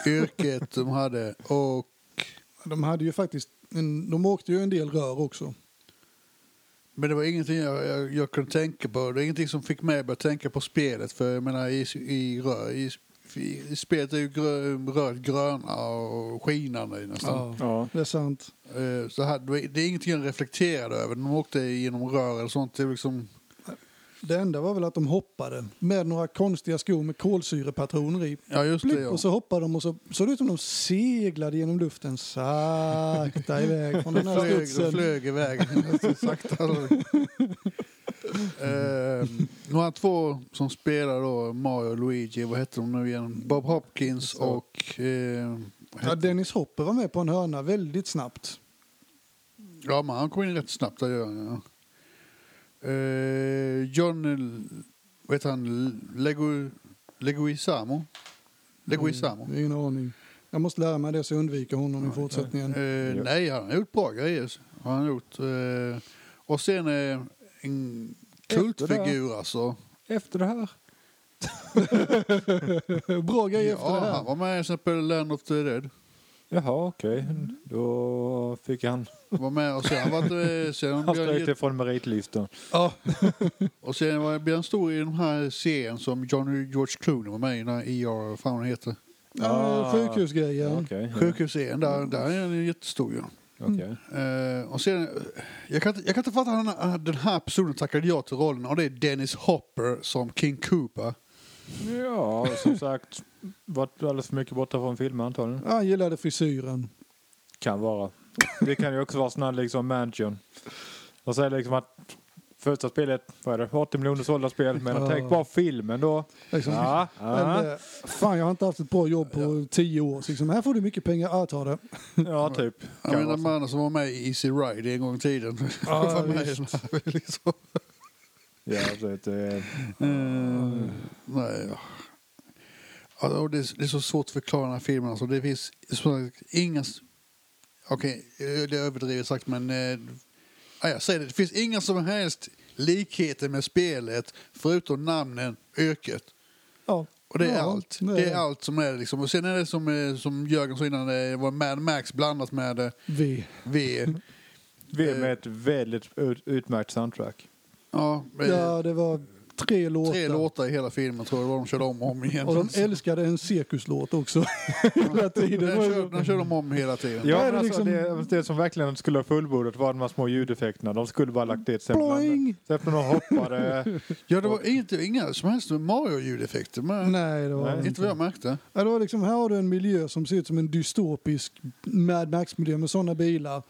yrket de hade och
De hade ju faktiskt, en, de åkte ju en del rör också.
Men det var ingenting jag, jag, jag kunde tänka på. Det var ingenting som fick mig att börja tänka på spelet. För jag menar, i, i, rö- i, i, i spelet är ju grö, röd, gröna och skinande i nästan.
Ja.
Ja.
Det är sant.
Eh, Så här, det var- det är ingenting jag reflekterade över. De åkte genom rör eller sånt. Det är liksom,
Det enda var väl att de hoppade med några konstiga skor med kolsyrepatroner i.
ja, just det.
Blipp,
Ja.
och så hoppade de och så såg det ut som de seglade genom luften sakta iväg från
De
den här
flög, de
studsen.
flög iväg. Så Sakta. Eh, nu har två som spelar då, Mario och Luigi, vad heter de nu igen? Bob Hopkins och... Eh,
Ja, Dennis Hopper var med på en hörna väldigt snabbt.
ja, men han kom in rätt snabbt, det gör han ja. Eh, John... Vad heter han? Legu, Leguizamo? Leguizamo?
Mm, ingen aning. Jag måste lära mig det så jag undviker honom i fortsättningen.
Eh, nej, han har gjort bra grejer. Har han gjort. Eh, och sen eh, en kultfigur alltså.
Efter det här.
Bra grej efter det
Ja, han
här.
var med i till exempel Land of the Dead.
Jaha, okej. Då fick han
Var med och sen var det, eh, sen
han
Björn,
strök
typ-
Git-
ifrån meritlistan.
Ja.
och sen var Björn Stor i den här serien som Johnny George Clooney var med i, den här ER, vad fan hon heter.
Ja,
Okej.
Sjukhusgrejen.
Sjukhusserien, där, där är han ju jättestor ju.
okej.
Eh, och sen, jag, kan, inte- jag kan inte fatta att han- den här personen tackade ja till rollen och det är Dennis Hopper som King Cooper.
Ja, som sagt. Varit alldeles för mycket borta från filmen antagligen.
Ja, Han gillade frisyren.
Kan vara. Det kan ju också vara sån här liksom mansion. Och så är det liksom att första spelet, vad är det, 80 miljoner sålda spel. Men
Ja.
tänk bara filmen då.
Liksom. eh,
Ja, ja,
Eller, fan, jag har inte haft ett bra jobb på tio år. Så liksom, här får du mycket pengar. Ja, ta det.
ja typ.
Jag
Kan
menar
vara så.
mannen som var med i Easy Ride en gång i tiden.
Ja,
Var med i
visst.
den här, liksom.
Ja, absolut. Det-
Eh, nej, ja. Alltså, och det, är, det är så svårt att förklara den här filmen. Alltså, det finns som sagt inga... s- Okej, eh, det är överdrivet sagt, men... Eh, ja, jag säger det, det finns inga som helst likheter med spelet förutom namnen, yrket.
Ja.
Och det är
Ja,
allt.
det är-
Det är allt som är det, liksom. Och sen är det som, eh, som Jörgen sa innan, det var Mad Max blandat med eh,
Vi.
V.
Vi är med ett väldigt ut- utmärkt soundtrack.
Ja, eh,
Ja, det var tre låtar.
Tre låtar i hela filmen tror jag det var de körde om och om igen.
Och de älskade en cirkuslåt också. Hela tiden.
den, kör, den körde de om hela tiden.
Ja,
Vad är
men
det
alltså,
liksom-
det, det som verkligen skulle ha fullbordat var de här små ljudeffekterna. De skulle bara ha lagt det sen
Boing!
bland Sen när de hoppade.
Ja, det var inte, inga som helst Mario-ljudeffekter. Men
Nej, det var
Nej.
inte.
inte vad jag märkte.
Ja, det var liksom, här har du en miljö som ser ut som en dystopisk Mad Max-miljö med sådana bilar.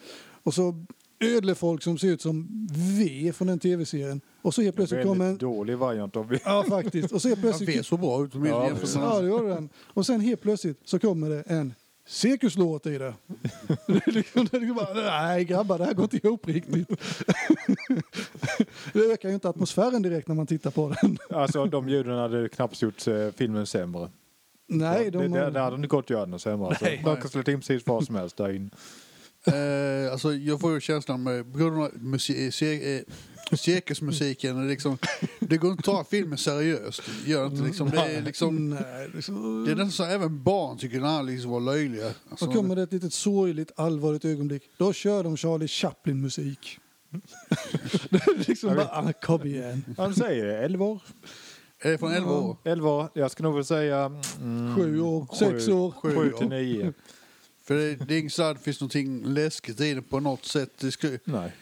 Och så ödlefolk som ser ut som V från den tv-serien. Och så helt plötsligt
Väldigt
kommer en...
dålig variant av
Ja, faktiskt. Och så helt
Jag vet
plötsligt...
så bra ut med
Ja,
jämfört med
Ja, det
andra.
gjorde den. Och sen helt plötsligt så kommer det en cirkuslåt i det. det är liksom, det är liksom bara, nej grabbar, det här går inte ihop riktigt. det ökar ju inte atmosfären direkt när man tittar på den.
Alltså de ljuden hade knappt gjort eh, filmen sämre.
Nej, de...
det, det, det hade inte gått att göra den sämre. Alltså.
Nej.
De kan slå in precis vad som helst där in.
Eh, alltså, jag får ju känslan med, på grund av musi- cir- eh, cirkusmusiken, liksom, det går inte att ta filmen seriöst. Det Gör
Mm.
inte, liksom, det, är, liksom,
Nej, liksom...
det är nästan så att även barn tycker den här liksom var löjliga. Alltså,
Och kommer det ett litet sorgligt, allvarligt ögonblick, då kör de Charlie Chaplin-musik. det är liksom bara, ah, kom igen.
Han säger 11 eh, år.
är det från 11 år?
11 år. Jag skulle nog vilja säga... Mm,
Sju år, sex år.
Sju
7
år.
till 9.
För det, det är inget så här, det finns någonting läskigt i det på något sätt. Det skulle,
Nej.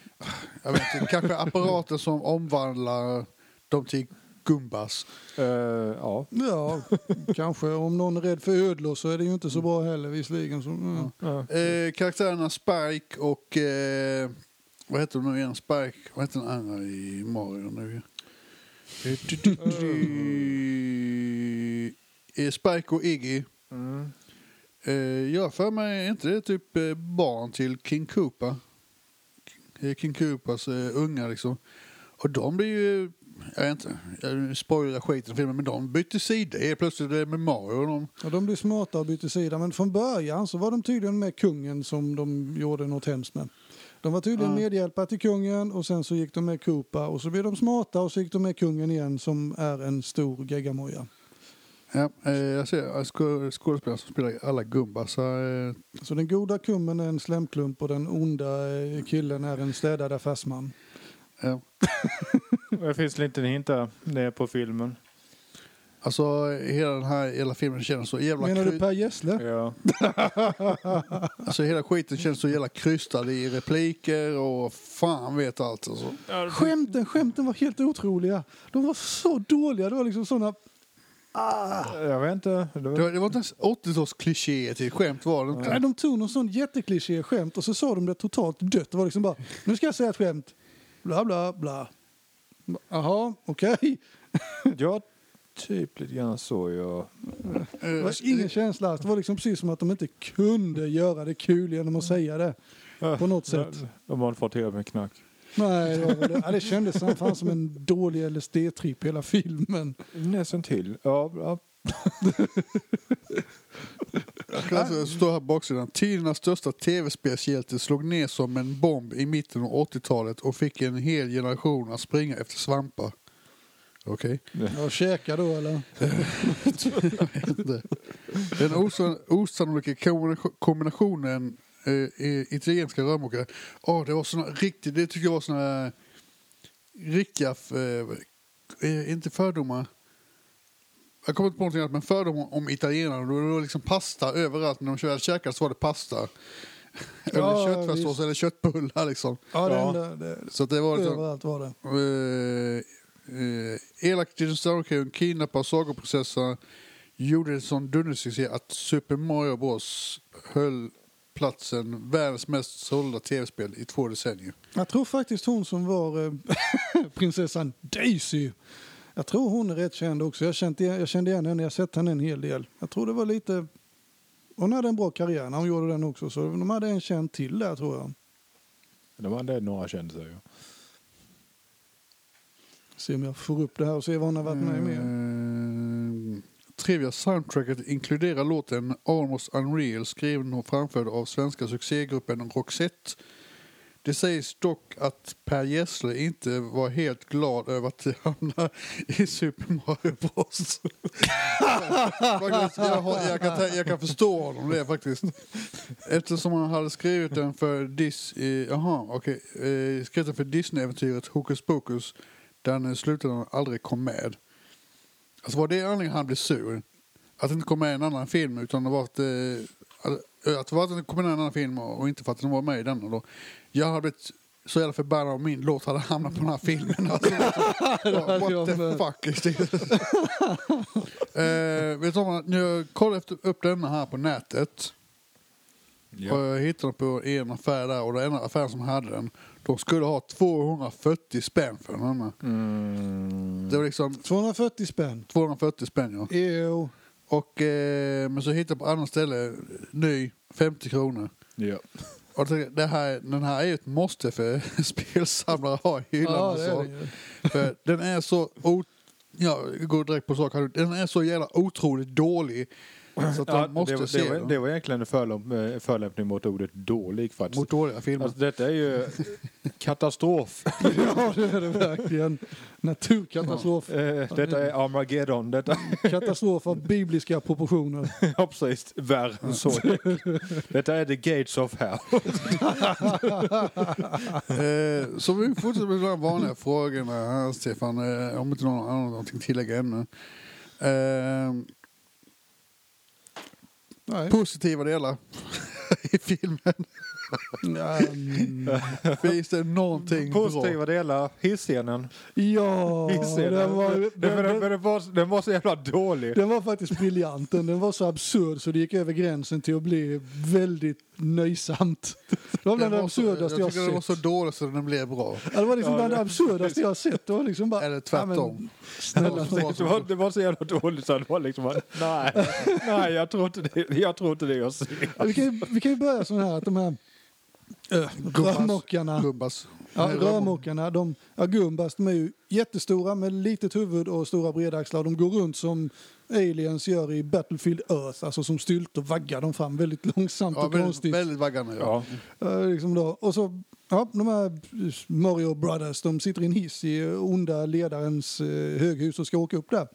Jag vet inte, kanske apparater som omvandlar dem till gumbas.
Eh, ja.
Ja, kanske. Om någon är rädd för ödlor så är det ju inte så bra heller visserligen. Så, ja.
Ja.
Eh, karaktärerna Spike och... Eh, vad heter de nu igen? Spike? Vad heter den andra i Mario nu? Eh, du, du, du, du. Eh, Spike och Iggy.
Mm.
Eh, jag har för mig, är inte det typ eh, barn till King Koopa? Eh, King Koopas eh, unga liksom. Och de blir ju, jag vet inte, jag spoilar skiten i filmen, men de bytte sida helt plötsligt eh, med Mario. Och de,
Ja, de blev smarta och bytte sida, men från början så var de tydligen med kungen som de gjorde något hemskt med. De var tydligen
Ja.
medhjälpare till kungen och sen så gick de med Koopa och så blev de smarta och så gick de med kungen igen som är en stor geggamoja.
ja, eh, jag ser eh, skå- skådespelare som spelar alla gumbasar. Eh,
Så den goda kummen är en slemklump och den onda eh, killen är en städad affärsman.
Ja.
Det finns en liten hint där nere på filmen.
Alltså hela den här hela filmen känns så jävla...
Menar du
kry-
Per Gessle?
Ja.
Alltså hela skiten känns så jävla krystad i repliker och fan vet allt alltså.
Skämten, skämten var helt otroliga. De var så dåliga. Det var liksom såna... Ah.
Jag vet inte. Det
Det
var...
var, det var inte ens 80-talskliché till skämt var det inte.
Nej, de tog någon sån jättekliché skämt och så sa de det totalt dött. Det var liksom bara, nu ska jag säga ett skämt. Bla, bla, bla. Jaha, okej.
Jag typ lite grann så jag...
Det
Eh,
var ingen känsla alls. Det var liksom precis som att de inte kunde göra det kul genom att säga det. På något sätt.
De har inte fått tillräckligt med knack.
Nej, det, var väl det. Ja, det kändes som, fan som en dålig LSD-tripp hela filmen.
Nästan till. Ja, ja.
Jag kan alltså stå här på baksidan. Tidernas största tv-spelshjälte slog ner som en bomb i mitten av 80-talet och fick en hel generation att springa efter svampar. Okej.
Jag käkar då eller?
Det. Den osan- osannolika kombina- kombinationen eh, i- italienska rörmokare. Oh, det var såna riktigt, det tycker jag var såna riktiga, f- eh, eh, inte fördomar. Jag kommer inte på någonting annat, men fördomar om italienare. Då var det liksom pasta överallt. När de körde käkade så var det pasta. eller
Ja,
köttfärssås
visst.
eller köttbullar liksom.
Ja, det
Ja.
enda, det,
Så att det var liksom...
överallt var det.
Uh, uh, elak dinosauriekung kidnappar sagoprocessor gjorde en sån dundersuccé att Super Mario Bros höll platsen världens mest sålda tv-spel i två decennier.
Jag tror faktiskt hon som var eh, prinsessan Daisy. Jag tror hon är rätt känd också. Jag kände, igen- jag kände igen henne, jag har sett henne en hel del. Jag tror det var lite... Hon hade en bra karriär när hon gjorde den också, så de hade en känd till där tror jag.
Det var det några kändisar ju.
Se om jag får upp det här och se vad hon har varit med
Mm.
med.
Eh, Trivia soundtracket inkluderar låten Almost Unreal skriven och framförd av svenska succégruppen Roxette. Det sägs dock att Per Gessle inte var helt glad över att hamna i Super Mario Bros. Faktiskt, jag, har- jag, kan, ta- jag kan förstå honom det faktiskt. Eftersom han hade skrivit den för, Dis, eh, aha, okej, eh, skrivit den för Disney-äventyret Hokus Pokus där han i slutändan aldrig kom med. Alltså var det anledningen han blev sur? Att det inte kom med i en annan film utan det var att, eh, att- att det var att det kom med i en annan film och inte för att den var med i denna då. Jag hade blivit så jävla förbannad om min låt hade hamnat på den här filmen. Alltså,
hade jag
what the
med.
fuck is this? eh, vet du vad, när jag kollade efter, upp denna här på nätet och jag hittade den på en affär där och den enda affären som hade den, de skulle ha 240 spänn för den här.
Mm.
Det var liksom
240 spänn. E
240 spänn ja.
Ew.
Och, eh, men så hittade jag på annat ställe ny 50 kronor.
Ja.
Och jag tänkte, det här, den här är ju ett måste för spelsamlare att ha i hyllan.
Ja,
och
det är
så.
det ju.
För den är så... O- ja, jag går direkt på sak. här. Den är så jävla otroligt dålig. Så att
Ja,
man måste
det, var-
se
det, var,
den.
det var egentligen en förlämp- eh, förolämpning mot ordet dålig faktiskt.
Mot dåliga filmer.
Alltså, detta är ju katastrof.
Ja, det är det verkligen. Naturkatastrof.
Eh, detta är Armageddon. Detta
Katastrof av bibliska proportioner.
Ja, precis. Värre än så. Detta är the gates of hell.
Eh, så vi fortsätter med de här vanliga frågorna här, Stefan. Eh, om inte någon annan har någonting att tillägga ännu. Eh,
Nej.
positiva delar i filmen.
Mm.
Finns det någonting bra?
Positiva delar, hisscenen.
Ja,
Hisscenen.
den var,
Den-
den,
men-
den,
men den var- Den var så jävla dålig.
den var faktiskt briljant. Den, den var så absurd så det gick över gränsen till att bli väldigt nöjsamt. Det var bland det
var så-
absurdaste jag,
tycker den var
sett.
så dålig så den blev bra.
Ja, det var liksom bland det absurdaste jag sett. Det var liksom bara,
Eller
Ja,
tvärtom.
men, snälla,
Det var-
Det var, det var så jävla dåligt så det var liksom bara, nej, nej jag tror inte det, jag tror inte det jag ser.
vi, kan ju, vi kan ju börja så här att de här äh, rörmokarna
Gubbas.
Ja,
Nej, rörmok-
rörmokarna, de, ja, gumbas, de är ju jättestora med litet huvud och stora breda axlar. De går runt som aliens gör i Battlefield Earth, alltså som styltor vaggar de fram väldigt långsamt
Ja,
och konstigt.
väldigt, väldigt vaggande. Ja.
Ja,
Eh, liksom då. Och så, ja, de här Mario Brothers, de sitter i en hiss i onda ledarens eh, höghus och eh, ska åka upp där.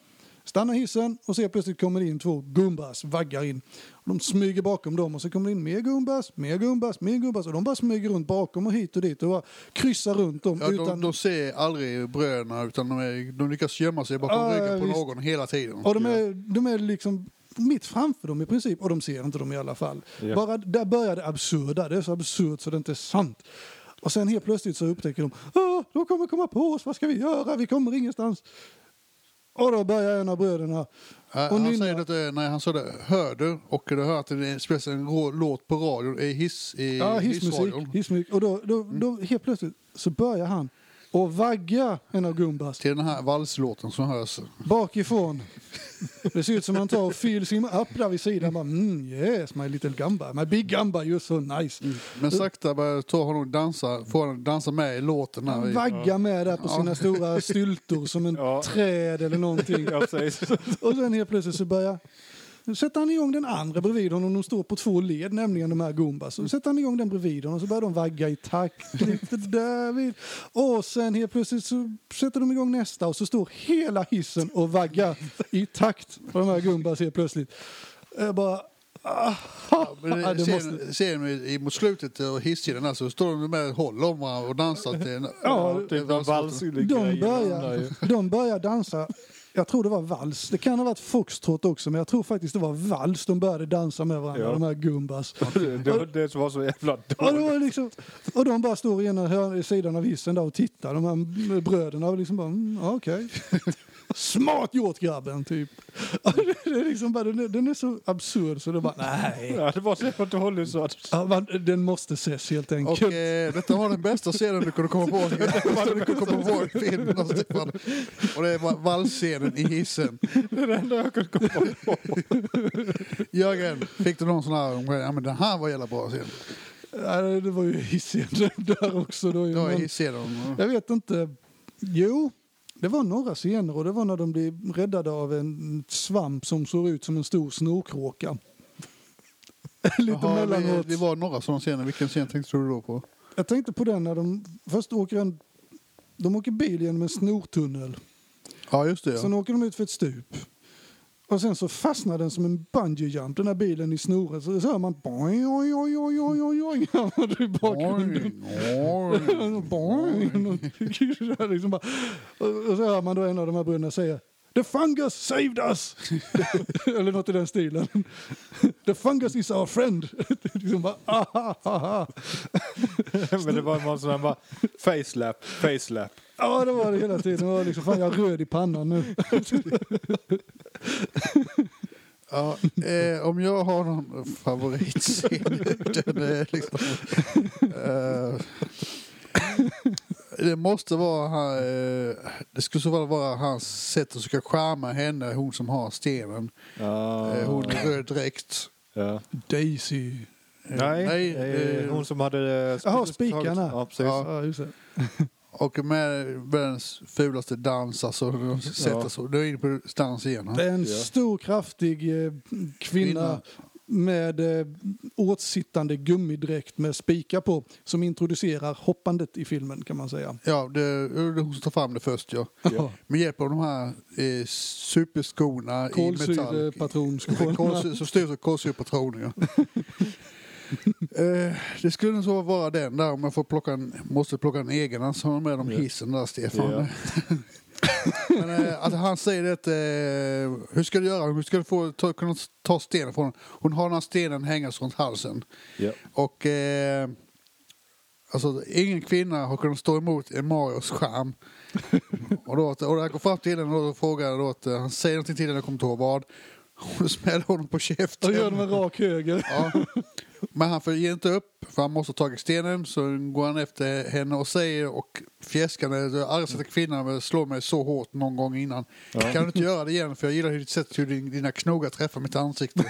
Stannar hissen och ser plötsligt kommer det in två gumbas, vaggar in. Och de smyger bakom dem och så kommer det in mer gumbas, mer gumbas, mer gumbas. Och de bara smyger runt bakom och hit och dit och bara kryssar runt dem.
Ja,
utan...
de, de ser aldrig bröderna utan de, är, de lyckas gömma sig bakom
Ja,
ryggen på
visst.
någon hela tiden.
Och de är, de är liksom mitt framför dem i princip och de ser inte dem i alla fall.
Ja.
Bara där börjar det absurda. Det är så absurt så det inte är sant. Och sen helt plötsligt så upptäcker de "Åh, de kommer komma på oss, vad ska vi göra? Vi kommer ingenstans. Och då börjar en av bröderna.
Ja,
och
han
nynna.
säger att det, nej, han sa det, hör du? Och du hör att det spelas en rå, låt på radion, i hiss, i
Ja, hissmusik.
hissradion.
hissmusik. Och då, då, då helt plötsligt så börjar han och vagga en av Gumbas
Till den här valslåten som hörs.
Mm. bakifrån. Det ser ut som han tar och fills him upp där vid sidan. Bara, mm, yes, my little Gamba, my big Gamba, you're so nice.
Men sakta börjar ta honom dansa, får honom dansa med i låten. Här.
Han
i-
vaggar med där på sina stora styltor som en
Ja.
träd eller någonting.
Ja, precis.
Och sen helt plötsligt så börjar... Nu sätter han igång den andra bredvid honom. De står på två led, nämligen de här Goombas. Så sätter han igång den bredvid honom och så börjar de vagga i takt lite därvid. Och sen helt plötsligt så sätter de igång nästa och så står hela hissen och vaggar i takt på de här Goombas helt plötsligt. Jag bara...
Ja, men det-
Ja, det
Ser
måste-
ser ni i- mot slutet och hisskillen där så står de med och håller om varandra och dansar till en,
Ja,
till
typ någon vals
De börjar, de börjar dansa. Jag tror det var vals. Det kan ha varit foxtrot också, men jag tror faktiskt det var vals de började dansa med varandra,
Ja.
de här gumbas.
Det, det, det var så jävla
Och, det
dåligt.
var liksom, och de bara står i ena hörn- sidan av hissen där och tittar, de här bröderna, och liksom bara, mm, ja, okej. Smart gjort grabben, typ. Och det är liksom bara, den, är, den är så absurd så det bara, nej.
Ja, det var så jävla dåligt så att...
Ja, man, den måste ses helt
Och
enkelt.
eh, detta var den bästa scenen du kunde komma på. Vad du kunde komma på i filmen. av Stefan. Och det var valsscenen i hissen.
Det är det enda jag kunde komma på.
Jörgen, fick du någon sån här, ja men den här var jävla bra scen.
Ja, det var ju hissen där också. Då, ju,
Det var
men-
hisscenen.
Jag vet inte. Jo, det var några scener och det var när de blir räddade av en svamp som såg ut som en stor snorkråka. Lite
Jaha, det,
mellanåt.
det var några sådana scener. Vilken scen tänkte du då på?
Jag tänkte på den när de först åker en... De åker bil genom en snortunnel.
Ja, just det.
Sen
Ja.
åker de ut för ett stup. Och sen så fastnar den som en bungee jump, den här bilen i snoret. Så så hör man boing, oj, oj, oj, oj, oj, oj. i bakgrunden.
Oj, oj.
Boing. Och det liksom bara- Och så hör man då en av de här bröderna säga The fungus saved us! Eller något i den stilen. The fungus is our friend. liksom bara, ah, ah, ah, ah.
Men det var någon sån här bara... Facelap, facelap.
Ja, det var det hela tiden. Det var liksom, fan, jag är röd i pannan nu.
Ja, eh, om jag har någon favoritscen, den är liksom... Eh, det måste vara... han, Eh, det skulle så väl vara hans sätt att försöka charma henne, hon som har stenen. Eh,
Ja.
Ah.
hon i röd dräkt.
Ja.
Daisy.
Eh,
Nej,
nej,
eh,
eh,
hon som hade... eh, sp-
Jaha, spikarna.
Ja, precis.
Ja.
Ja, just det.
Och med världens fulaste dans, alltså. De sätter
Ja.
så. Nu är jag inne på dans igen. va?
Det är en
Ja.
stor, kraftig eh, kvinna,
Kvinna.
med eh, åtsittande gummidräkt med spikar på som introducerar hoppandet i filmen, kan man säga.
Ja, det är hon som tar fram det först, ja.
Ja.
Med hjälp av de här eh, superskorna i metall.
Kolsyrepatronskålarna.
Kolsy- Som styrs av kolsyrepatroner, ja. eh, det skulle så vara den där om jag får plocka en, måste plocka en egen. Han har med om hissen där, Stefan.
Ja.
Men eh, att han säger det att, eh, hur ska du göra? Hur ska du få, ta, kunna ta stenen från honom? Hon har den här stenen hängas runt halsen.
Ja.
Och eh, alltså, ingen kvinna har kunnat stå emot en Marios charm. och, då, och jag går fram till henne och då frågar jag då att eh, han säger någonting till henne, jag kommer inte ihåg vad. Hon smäller honom på
Då gör de
käften.
en rak höger.
Ja. Men han får ge inte upp, för han måste ha tagit stenen. Så går han efter henne och säger och fjäskar henne. Jag har aldrig sett en kvinna men slå mig så hårt någon gång innan. Kan du inte göra det igen? För jag gillar hur ditt sätt hur din- dina knogar träffar mitt ansikte.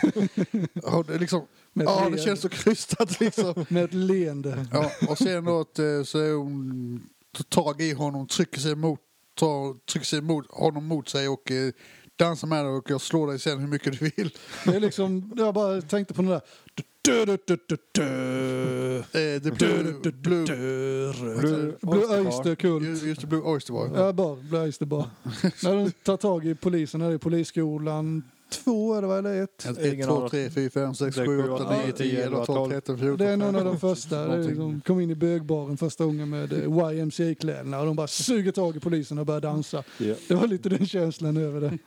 och det, är liksom,
Med ett
ja, det
leende.
känns så krystat liksom.
Med ett leende.
Ja, och sen då att, eh, så är hon, tar tag i honom, trycker sig mot, tar, trycker sig mot honom mot sig och eh, dansar med dig och jag slår dig sen hur mycket du vill. Eh,
Det är liksom, jag bara tänkte på den där. Dö, dö, dö, dö, dö.
Eh, the Blue...
Dö, dö, dö, dö,
blue, blue
dö.
Blue-
Blue
Oyster Bar.
Oyster Cult.
ju- just det, Blue Oyster Bar.
Ja, bara Blue Oyster Bar. När de tar tag i polisen här i polisskolan. Två är det va, eller ett?
Ett,
Ingen
två,
aning.
tre, fyra, fem, sex,
Sex,
sju,
sju,
åtta,
åtta,
nio, tio,
tio,
elva, tolv,
tolv.
tretton, fjorton.
Det är någon av de första. Det är
Någonting.
liksom, kom in i bögbaren första gången med eh, YMCA-kläderna och de bara suger tag i polisen och börjar dansa.
Ja.
Det var lite den känslan över det.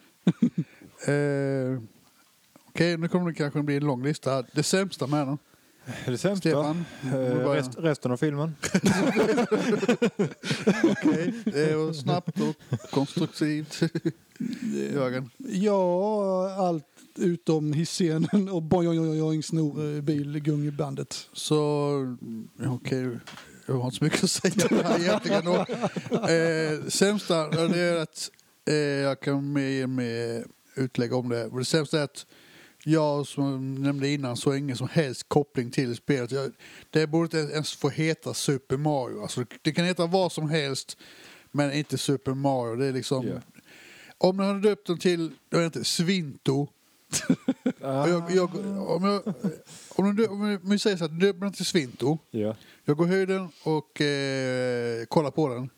Eh, Okej, nu kommer det kanske bli en lång lista. här. Det sämsta med den.
Är det sämsta?
Stefan?
Eh, rest, resten av filmen?
Okej, det var snabbt och konstruktivt. Jörgen.
Ja, allt utom hisscenen och boing snor eh, bilgungbandet.
Så, okej. jag har inte så mycket att säga om det här egentligen. Och, eh, sämsta, ja, det är att eh, jag kan med, med utlägg om det. Och Det sämsta är att jag, som jag nämnde innan, så har ingen som helst koppling till spelet. Jag, det borde inte ens få heta Super Mario. Alltså, det kan heta vad som helst, men inte Super Mario. Det är liksom...
Ja.
Om man hade döpt den till, jag vet inte, Svinto. Och Jag, jag, om, jag, om, du, om vi- om vi säger så här, döper den till Svinto.
Ja.
Jag går höjden och eh, kollar på den.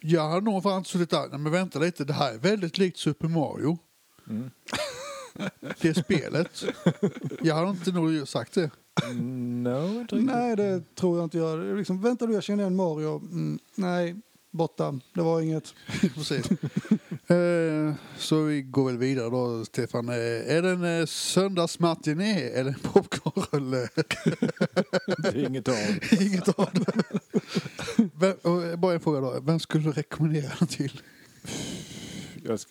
Jag hade nog fan suttit där, nej men vänta lite, det här är väldigt likt Super Mario.
Mm.
Det spelet. Jag hade inte nog sagt det.
Mm, No, inte riktigt.
Nej, det tror jag inte jag. Det är Liksom, vänta du, jag känner igen Mario. Mm, nej, borta. Det var inget.
Precis. Eh, så vi går väl vidare då, Stefan. Eh, är det en eh, söndagsmatiné eller en popcornrulle?
Det är inget av.
Inget av det. Vem, och bara en fråga då. Vem skulle du rekommendera den till?
Jag sk-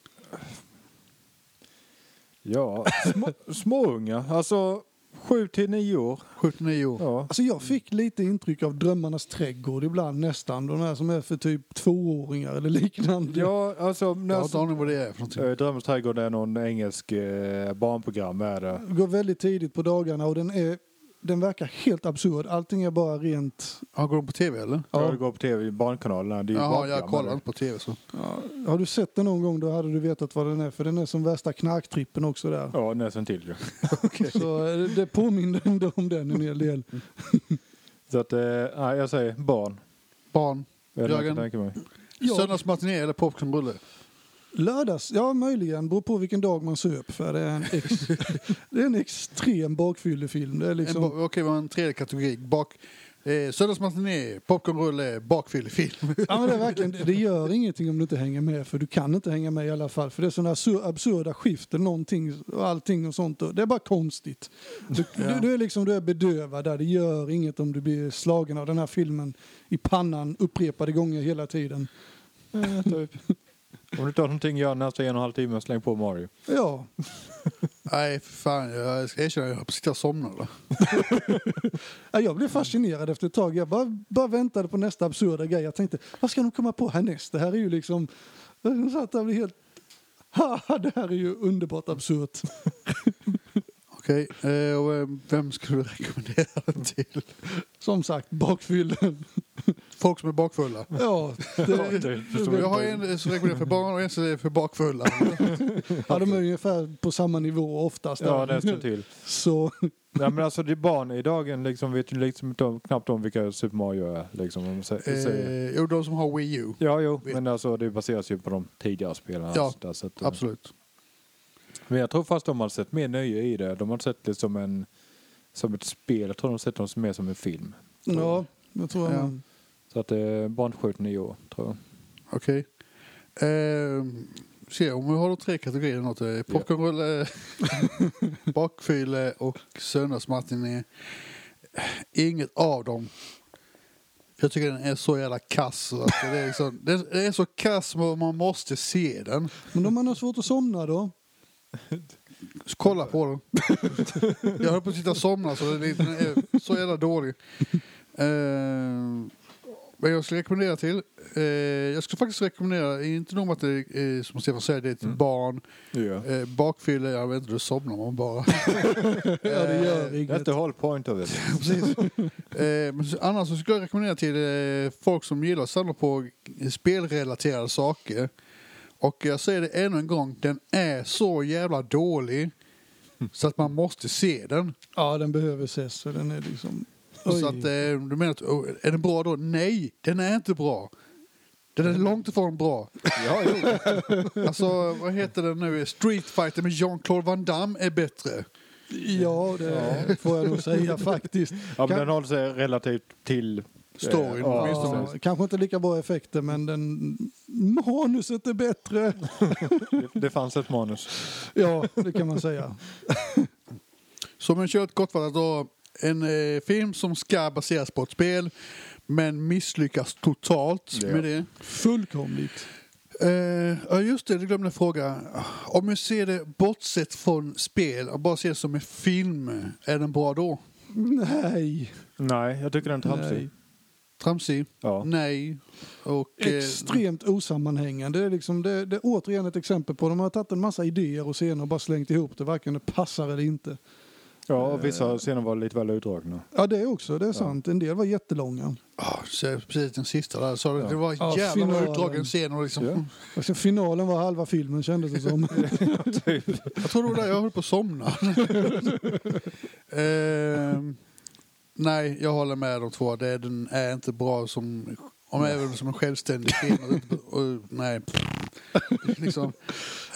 ja, små, småunga. Alltså, sju till nio år.
79 år.
Ja.
Alltså, jag fick lite intryck av Drömmarnas trädgård ibland nästan. De här som är för typ tvååringar eller liknande.
Ja, alltså...
Jag har
När,
inte aning vad det är för någonting.
Eh, Drömmens trädgård är någon engelsk eh, barnprogram är det.
Går väldigt tidigt på dagarna och den, är, den verkar helt absurd. Allting är bara rent...
Ja, går de på tv eller?
Ja.
Ja.
Det går på tv, i barnkanalerna. Det är ju
Jaha, jag
barnprogram,
kollar
är det.
inte på tv så.
Har du sett den någon gång då hade du vetat vad den är. För den är som värsta knarktrippen också där.
Ja, nästan till ju.
Så eh, det påminner ändå om den en hel del.
Så att, eh, nej, jag säger barn.
Barn.
Är det något
Jörgen?
jag tänker mig?
Ja.
Söndagsmatiné eller popcornrulle?
Lördags? Ja, möjligen. Beror på vilken dag man söp. För det är en, ex, det är en extrem bakfyllefilm. Det är
Liksom...
liksom...
Okej, vi har en tredje kategori. Bak... Eh, söndagsmatiné, popcornrulle, bakfyllefilm.
Ja, men det, är verkligen, det gör ingenting om du inte hänger med, för du kan inte hänga med i alla fall. För det är sådana absur, absurda skiften, någonting och allting och sånt. och Det är bara konstigt. Du, du, du är liksom du är bedövad där. Det gör inget om du blir slagen av den här filmen i pannan upprepade gånger hela tiden.
Eh, typ. Om du inte har någonting att göra nästa en och en halv timme, släng på Mario.
Ja,
Nej, för fan. Jag ska erkänna, jag höll på att sitta och somna. Då.
Ja, Jag blev fascinerad efter ett tag. Jag bara, bara väntade på nästa absurda grej. Jag tänkte, vad ska de komma på härnäst? Det här är ju liksom... Jag satt där och blev helt... Haha, det här är ju underbart absurt.
Okej, eh, och eh, vem skulle du rekommendera den till?
Som sagt, bakfyllen.
Folk som är bakfulla.
Ja,
Ja,
det,
det förstår
Jag har en som rekommenderar för barn och en som är för bakfulla.
ja, de är ungefär på samma nivå oftast.
Ja,
där.
nästan till.
Så,
Nej, men alltså det är barn i dagen liksom vet ju liksom inte om, knappt om vilka Super Mario är. Liksom, om man sä- säger.
Eh, jo, de som har Wii U.
Ja, jo,
vet-
men alltså det baseras ju på de tidigare spelarna.
Ja,
så där, så att, eh,
Absolut.
Men jag tror fast de har sett mer nöje i det. De har sett det som en som ett spel. Jag tror de har sett det mer som en film.
ja, jag tror jag
Ja.
man-
Så att det är barnskjuten i år, tror jag.
Okej. Eh, se om vi har de tre kategorierna. Något, eh, popcornrulle, bakfylle och söndagsmatiné. Inget av dem. Jag tycker den är så jävla kass. så Att det, är liksom, det, det är så kass att man måste se den.
Men om man har svårt att somna då?
Så Kolla på den. Jag höll på att sitta och somna så den är- den är så jävla dålig. Eh, vad jag skulle rekommendera till? Eh, jag skulle faktiskt rekommendera, inte nog med att det är, eh, som Stefan säger, det är ett barn.
Ja.
Eh, bakfylla, jag vet inte, då somnar man bara.
Ja, det gör
Det är
inget.
inte whole point of it.
Precis. Eh, men så- annars så skulle jag rekommendera till eh, folk som gillar att samla på eh, spelrelaterade saker. Och jag säger det ännu en gång, den är så jävla dålig. Så att man måste se den.
Ja, den behöver ses. Så den är liksom... Oj.
Så att, eh, du menar att, oh, är den bra då? Nej, den är inte bra. Den är långt ifrån bra.
Ja, jo.
Alltså, vad heter den nu? Street Fighter med Jean-Claude Van Damme är bättre. eh,
Ja, det får jag nog säga faktiskt.
Ja, men
Kan-
den håller sig relativt till...
Storyn,
ja,
åtminstone.
precis.
Ja, kanske inte lika bra effekter, men den... manuset är bättre.
Det, det fanns ett manus.
Ja, det kan man säga.
Som en kört kortfattat då. En eh, film som ska baseras på ett spel men misslyckas totalt
Ja.
med det.
Fullkomligt.
Eh, ja, just det, det glömde jag fråga. Om vi ser det bortsett från spel och bara ser det som en film, är den bra då?
Nej.
Nej, jag tycker den är
Nej.
tramsig.
Tramsig?
Ja.
Nej. Och, eh,
Extremt osammanhängande. Det är, liksom, det, det är återigen ett exempel på de har tagit en massa idéer och scener och bara slängt ihop det. Varken det passar eller inte.
Ja, och vissa scener var lite väl utdragna.
Ja, det är också. Det är sant. En del var jättelånga.
ah, så precis den sista där. Så det,
Ja.
det var
Ja,
en jävla vad
finalen.
utdragen scen. Och liksom,
Ja.
Alltså, finalen var halva filmen kändes det som.
Jag tror det var där jag höll på att somna. Ehm, nej, jag håller med de två. Det, är- den är inte bra som, om även som en självständig film. Och inte- och, nej. liksom.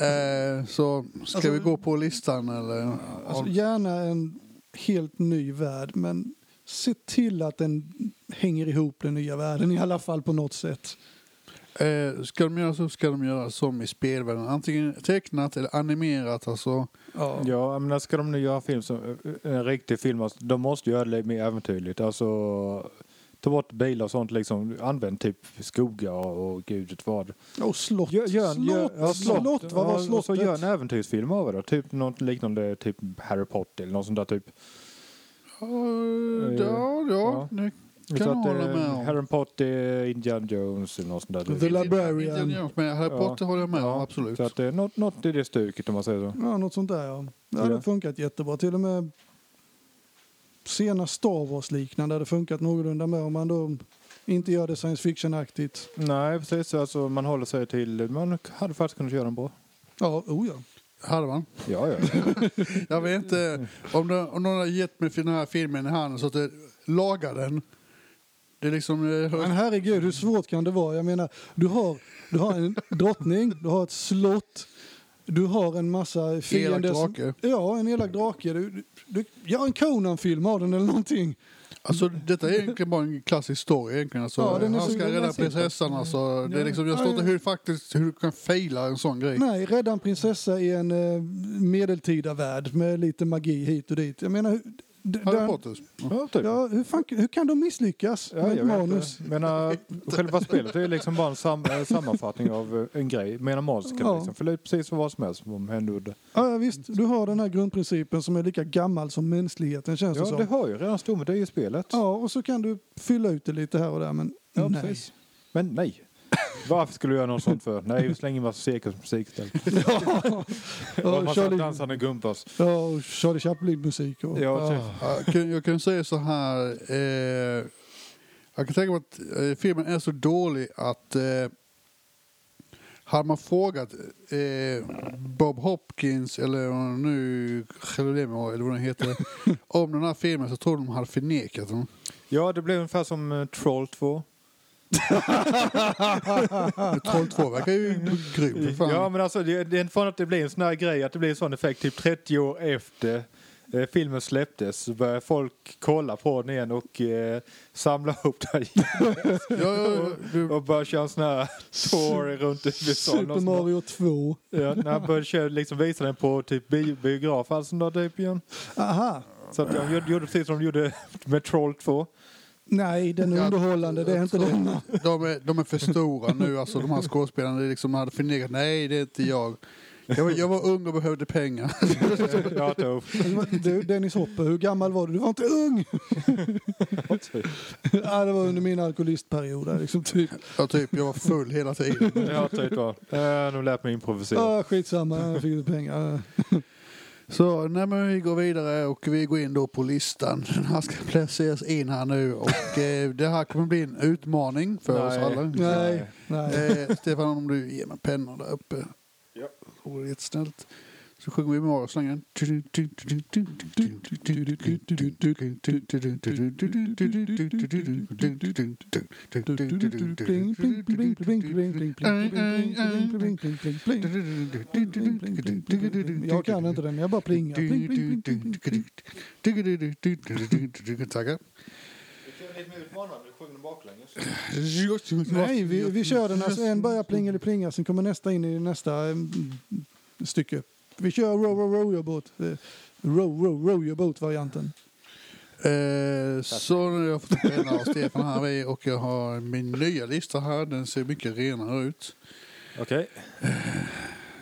Ehm, så ska
Alltså-
vi gå på listan eller?
Alltså, gärna en helt ny värld, men se till att den hänger ihop den nya världen i alla fall på något sätt.
Ehm, ska de göra så ska de göra som i spelvärlden. Antingen tecknat eller animerat. Alltså.
Ja.
Ja, men när ska de nu göra film som, en riktig film, alltså, de måste göra det lite mer äventyrligt. Alltså, ta bort bilar och sånt liksom. Använd typ skogar och, och gudet vad.
Och slott.
Gör, gör, en-
slott.
gör, ja, slott.
slott. Vad var
Ja, och
slottet?
Så gör en äventyrsfilm av det. Typ något liknande typ Harry Potter eller något sånt där typ.
Ehm, ja, ja,
Ja.
det kan
Så
jag
att,
hålla
eh,
med om.
Harry Potter, Indiana Jones eller något sånt där.
The
typ.
Librarian.
Indiana Jones, Men Harry
Ja.
Potter håller jag med om, absolut.
Så att det är något, något i det stuket om man säger så.
Ja, något sånt där ja. Det hade
Ja.
funkat jättebra. Till och med sena Star Wars-liknande hade funkat någorlunda med om man då inte gör det science fiction-aktigt.
Nej, precis. Alltså, man håller sig till... Man hade faktiskt kunnat göra den bra.
Ja, oh ja.
Hade man?
Ja, ja.
Jag vet inte om, det, om någon har gett mig för den här filmen i handen så att jag lagar den. Det är liksom... eh,
Men herregud, hur svårt kan det vara? Jag menar, du har, du har en drottning, du har ett slott, du har en massa fiender. som-
drake.
Ja, en elak drake. Du, du, du, gör en Conan-film av den eller någonting.
Alltså, detta är egentligen bara en klassisk story. Egentligen. Alltså,
Ja, den är
han
så-
ska
den är
rädda
simpel.
prinsessan. Alltså. Det är liksom, jag
Ja,
förstår
ja.
inte hur, faktiskt, hur du kan fejla en sån grej.
Nej, rädda en prinsessa i en eh, medeltida värld med lite magi hit och dit. Jag menar, hur- d-
Harry
där-
Potter.
ja typ.
Ja, hur, fan, hur kan de misslyckas
Ja,
med ett
jag vet
manus?
inte. Men äh, själva spelet är liksom bara en sam eh, sammanfattning av eh, en grej. Medan manus kan
Ja.
liksom fylla ut precis vad som helst som hände under.
Ja, ja, visst, du har den här grundprincipen som är lika gammal som mänskligheten känns det
Ja,
som.
det har ju redan stormat i spelet.
Alltså Ja, och så kan du fylla ut det lite här och där, men
Ja,
nej.
precis. Men nej. Varför skulle du göra något sånt för? Nej, vi slänger en massa cirkusmusik istället.
ja,
Och
och
massa
Charlie,
dansande gumpas.
ja, och Charlie Chaplin-musik. Och,
Ja, typ.
Ja, jag kan- jag kan säga så här. Eh, jag kan tänka mig att eh, filmen är så dålig att eh, hade man frågat eh, Bob Hopkins eller vad han nu Geronimo, eller vad den heter om den här filmen så tror jag de hade förnekat den.
ja, det blev ungefär som eh, Troll 2.
Men Troll 2 verkar ju grym. för Fan.
Ja, men alltså det, det är inte fan att det blir en sån här grej, att det blir en sån effekt typ 30 år efter eh, filmen släpptes så börjar folk kolla på den igen och eh, samla ihop det här
ja, ja, du,
och börjar köra en sån här tour runt USA.
Super Mario 2.
Ja, när han började köra, liksom visa den på typ bio, biograf alltså sån där typ igen.
Aha,
Så att de gjorde, gjorde precis som de gjorde med Troll 2.
nej, den är
Ja,
underhållande, det är inte denna.
de, är, de är för stora nu, alltså de här skådespelarna. Det är liksom, de hade förnekat, nej det är inte jag. Jag var, jag var ung och behövde pengar.
Eh, ja, då.
Du, Dennis Hopper, hur gammal var du? Du var inte ung! ja, det var under min alkoholistperiod. där, Liksom, typ.
Ja, typ, jag var full hela tiden.
Ja, typ då. Eh, de lät mig improvisera.
ah, skitsamma, jag fick lite pengar.
Så nej, men vi går vidare och vi går in då på listan. Den här ska placeras in här nu och eh, det här kommer bli en utmaning för oss
Nej.
alla.
Nej, nej.
Eh, Stefan, om du ger mig pennan där uppe. Ja. Det vore jättesnällt. Så sjunger vi med oss länge.
Jag kan inte den, men jag bara plingar. Pling, pling, pling, pling, pling.
Tackar.
Det är lite mer utmanande, du sjunger baklänges.
Nej, vi, vi kör den. Alltså, en börjar plinga eller plinga, sen kommer nästa in i nästa eh, stycke. Vi kör row, row, row your boat. Eh, Row, row, row your boat-varianten.
Eh, så nu har jag fått träna av Stefan här i och jag har min nya lista här. Den ser mycket renare ut.
Okej.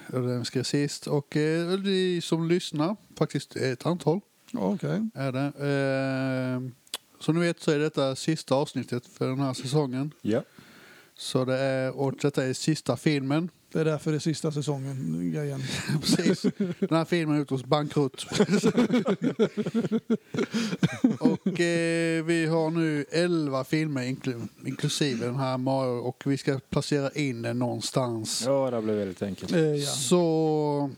Och Den ska sist. Och eh, ni som lyssnar, faktiskt ett antal
Ja, okej.
är det. Eh, som ni vet så är detta sista avsnittet för den här säsongen.
Ja.
Så det är, och detta är sista filmen.
Det är därför det är sista säsongen, eh, grejen.
Precis. Den här filmen är ute hos Bankrutt. och eh, vi har nu 11 filmer inklu- inklusive den här Mario och vi ska placera in den någonstans.
Ja, det blev väldigt enkelt.
Eh, ja.
Så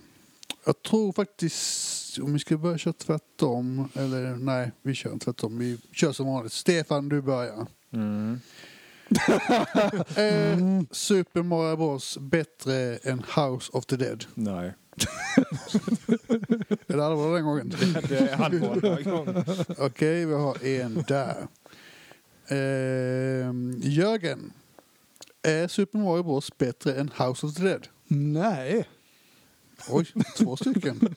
jag tror faktiskt om vi ska börja köra tvärtom eller nej, vi kör tvärtom. Vi kör som vanligt. Stefan, du börjar.
Mm.
Eh, Super Mario Bros bättre än House of the Dead.
Nej.
Är det allvar den gången?
Det är halvbra den här gången.
Okej, vi har en där. Ehm, Jörgen. Är Super Mario Bros bättre än House of the Dead?
Nej.
Oj, två stycken.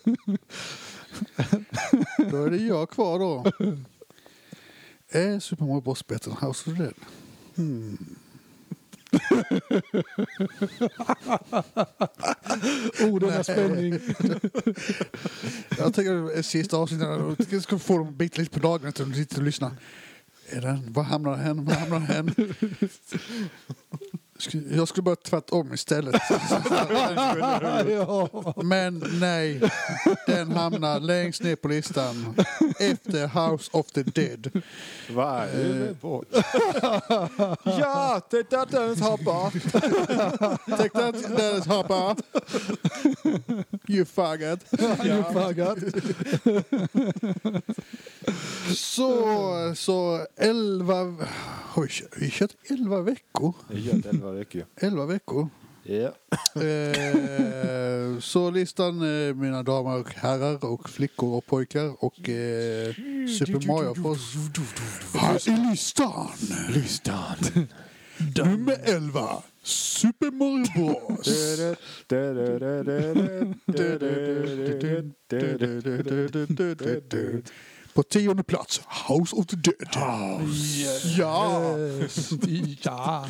Då är det jag kvar då. Är Super Mario Bros bättre än House of the Dead?
Oh, denna spänning.
Jag tänker eh, sista avsnittet, jag ska få dem bit lite på dagen utan att sitta och lyssna. Är den, var hamnar hen? Var hamnar hen? Sk- Jag skulle bara tvärtom istället.
ja.
Men nej, den hamnar längst ner på listan efter House of the Dead.
Vad är det på? Ja, det är dödens hoppa.
Take that, Dennis Hopper! You faggot!
You faggot.
Så, så elva... Oj, vi har kört elva veckor.
Det gör det elva veckor.
Elva veckor.
Ja.
Eh, så listan, eh, mina damer och herrar och flickor och pojkar och eh, Super Mario Bros. Här är listan!
Listan.
Nummer 11, Super Mario Bros. På tionde plats, House of the Dead. Ja!
Yes. ja.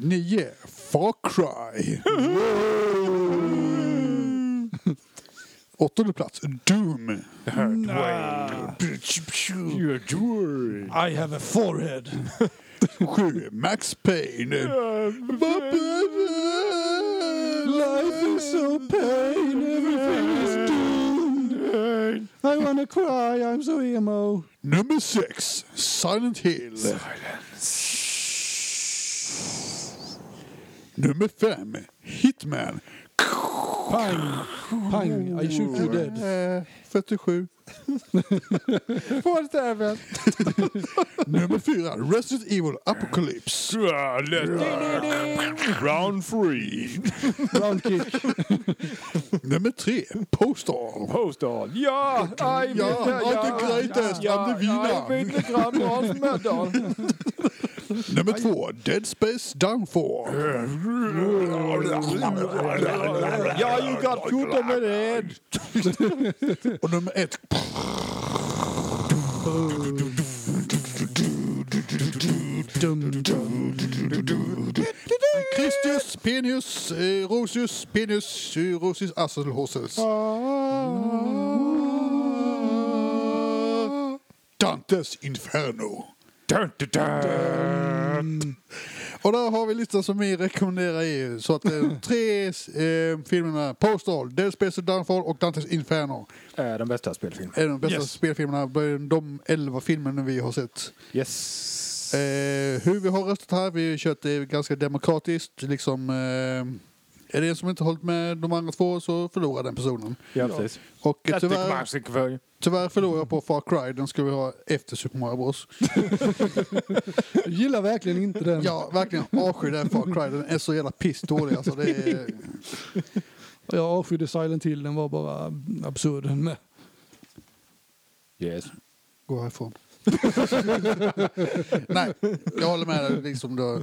Nio, Far Cry. Åttonde plats, Doom.
I have a forehead.
Sju, Max Payne.
Life is so pain, everything is doomed. I wanna cry, I'm so emo.
Nummer sex, Silent Hill. Nummer fem, Hitman.
Pang, pang, I shoot you dead.
Eh, 47.
Fårsdäveln.
Nummer fyra, Resident Evil Apocalypse.
Round three.
Round kick.
Nummer tre, Postal.
Postal. Ja, I will.
Ja, I'm the greatest, I'm the
I will
winner.
the grand old medal.
Nummer två, Dead Space Downfall.
Ja, you got good med det.
Och nummer ett,
Dum, dum.
Christius Penius eh, Rosius Penius eh, Rosius Asselhossels. Dantes Inferno. Och där har vi listan som vi rekommenderar i. Så att eh, tre eh, filmerna, Postal, Dead Space Downfall och Dantes Inferno
Är den bästa spelfilmen.
är de bästa
Yes.
spelfilmerna, bland de elva filmerna vi har sett.
Yes.
Eh, hur vi har röstat här, vi har kört det ganska demokratiskt. Liksom, eh, Är det en som inte hållit med de andra två så förlorar den personen.
Ja, precis.
Och
Jag tycker
tyvärr,
man ska få-
tyvärr förlorar jag på Far Cry. Den ska vi ha efter Super Mario Bros.
Jag gillar verkligen inte den.
Ja, verkligen avskyr den Far Cry. Den är så jävla pissdålig. Alltså, det är...
Jag avskydde Silent Hill, den var bara absurd den med.
Yes.
Gå härifrån. Nej, jag håller med dig. Liksom då.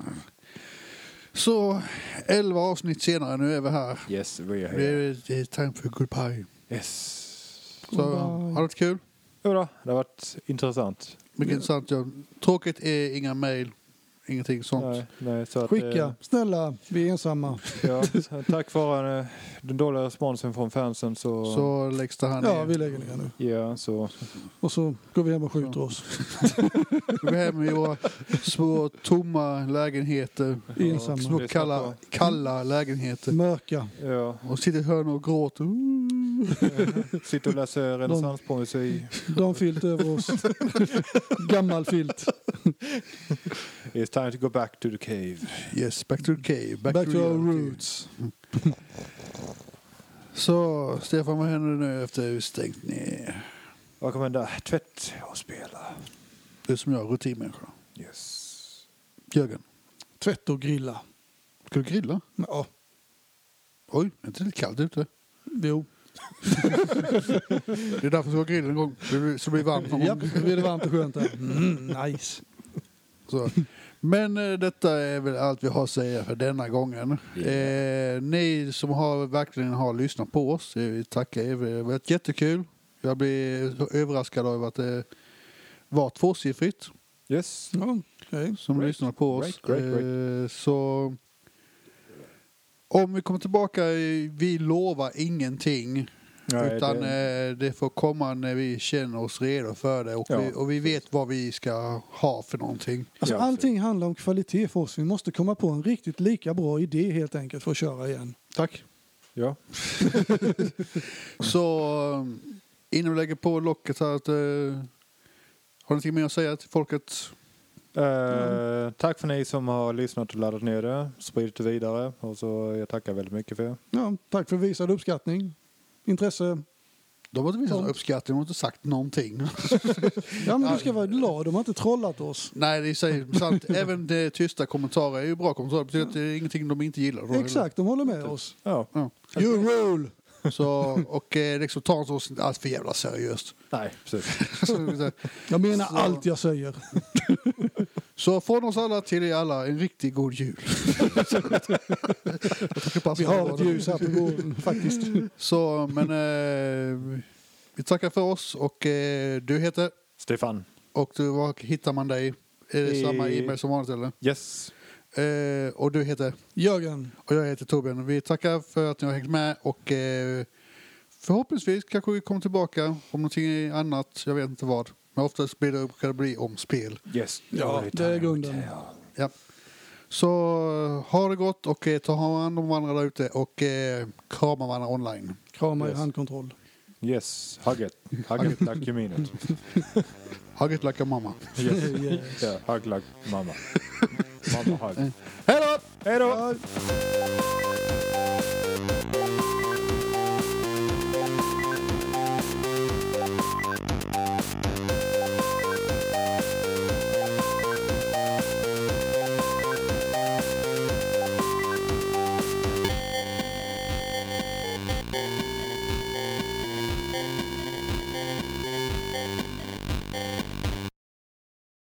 Så, elva avsnitt senare, nu är vi här.
Yes, we are
Det
here.
är, det är time for goodbye.
Yes.
Så,
Goodbye.
har det varit kul?
Jo då, det har varit intressant.
Mycket intressant. Ja. Tråkigt är inga mejl, ingenting sånt.
Nej, nej, så att,
Skicka, snälla, vi är ensamma.
eh, Ja, så tack vare eh, den dåliga responsen från fansen så...
Så läggs det här ner.
Ja, vi lägger ner nu.
Ja, så...
Och så går vi hem och skjuter oss.
Vi går hem i våra små tomma lägenheter.
Ensamma.
Små kalla, kalla lägenheter.
Mörka.
Ja,
Och sitter i hörn och gråter.
sitter och läser renässanspoesi.
Damfilt över oss. Gammal filt.
It's time to go back to the cave.
Yes, back to the cave.
Back, to our
reality.
roots.
Så, Stefan, vad händer nu efter vi stängt ner?
Vad kommer hända? Tvätt och spela.
Du som jag, rutinmänniska.
Yes.
Jörgen,
Tvätt och grilla.
ska du grilla?
Ja,
Oj, är inte det lite kallt ute?
jo.
Det är därför jag ska grilla en gång, så det blir- så det blir varmt någon
Ja,
gång.
nu blir det varmt och skönt här. Mm, nice.
Så. Men eh, detta är väl allt vi har att säga för denna gången. Eh, ni som har, verkligen har lyssnat på oss, eh, vi tackar er. Det har varit jättekul. Jag blir så överraskad över att det var tvåsiffrigt
Yes.
Ja, okej.
som
Great.
lyssnar på oss.
Great, great,
Eh, så om vi kommer tillbaka, eh, vi lovar ingenting.
Nej,
utan
det-
det... Eh, det får komma när vi känner oss redo för det och,
Ja,
vi, och vi vet vad vi ska ha för någonting.
Alltså,
Ja,
allting handlar om kvalitet för oss. Vi måste komma på en riktigt lika bra idé helt enkelt för att köra igen.
Tack.
Ja.
Så eh, innan vi lägger på locket här, att, eh, har du någonting mer att säga till folket?
Eh,
Mm.
tack för ni som har lyssnat och laddat ner det, spridit det vidare och så jag tackar väldigt mycket för er.
Ja, tack för visad uppskattning, intresse.
De har inte visat
Ja.
någon uppskattning, de har inte sagt någonting.
Ja, men du ska vara glad, de har inte trollat oss.
Nej, det är säkert sant. Även det tysta kommentarer är ju bra kommentarer. Det betyder att det är ingenting de inte gillar. då.
Exakt, de håller med oss.
Ja.
Ja.
You rule!
Så, och eh, liksom, ta inte oss allt för jävla seriöst.
Nej, precis.
Jag menar
Så-
allt jag säger.
Så från oss alla till er alla, en riktigt god jul. Jag tycker
Alltså,
passa
Vi har
på
ett
det.
ljus här på gården faktiskt.
Så, men eh, vi tackar för oss och eh, du heter
Stefan.
och du, var hittar man dig? Är det
I-
samma
Eh.
e-mail som vanligt eller?
Yes.
Eh, och du heter?
Jörgen,
Och jag heter Torbjörn. Vi tackar för att ni har hängt med och eh, förhoppningsvis kanske vi kommer tillbaka om någonting annat, jag vet inte vad. Men oftast blir det, kan det bli om spel.
Yes.
ja, det är grunden.
Ja. Så eh, ha det gott och eh, ta hand om varandra där ute och eh, krama varandra online.
Krama i
Yes.
handkontroll.
Yes. Hugget. Hugget like you mean it.
Ha det gött, lacka mamma.
Yes.
Yes.
Yeah. Hug like mamma. Mamma hug.
Hej då!
Hej då!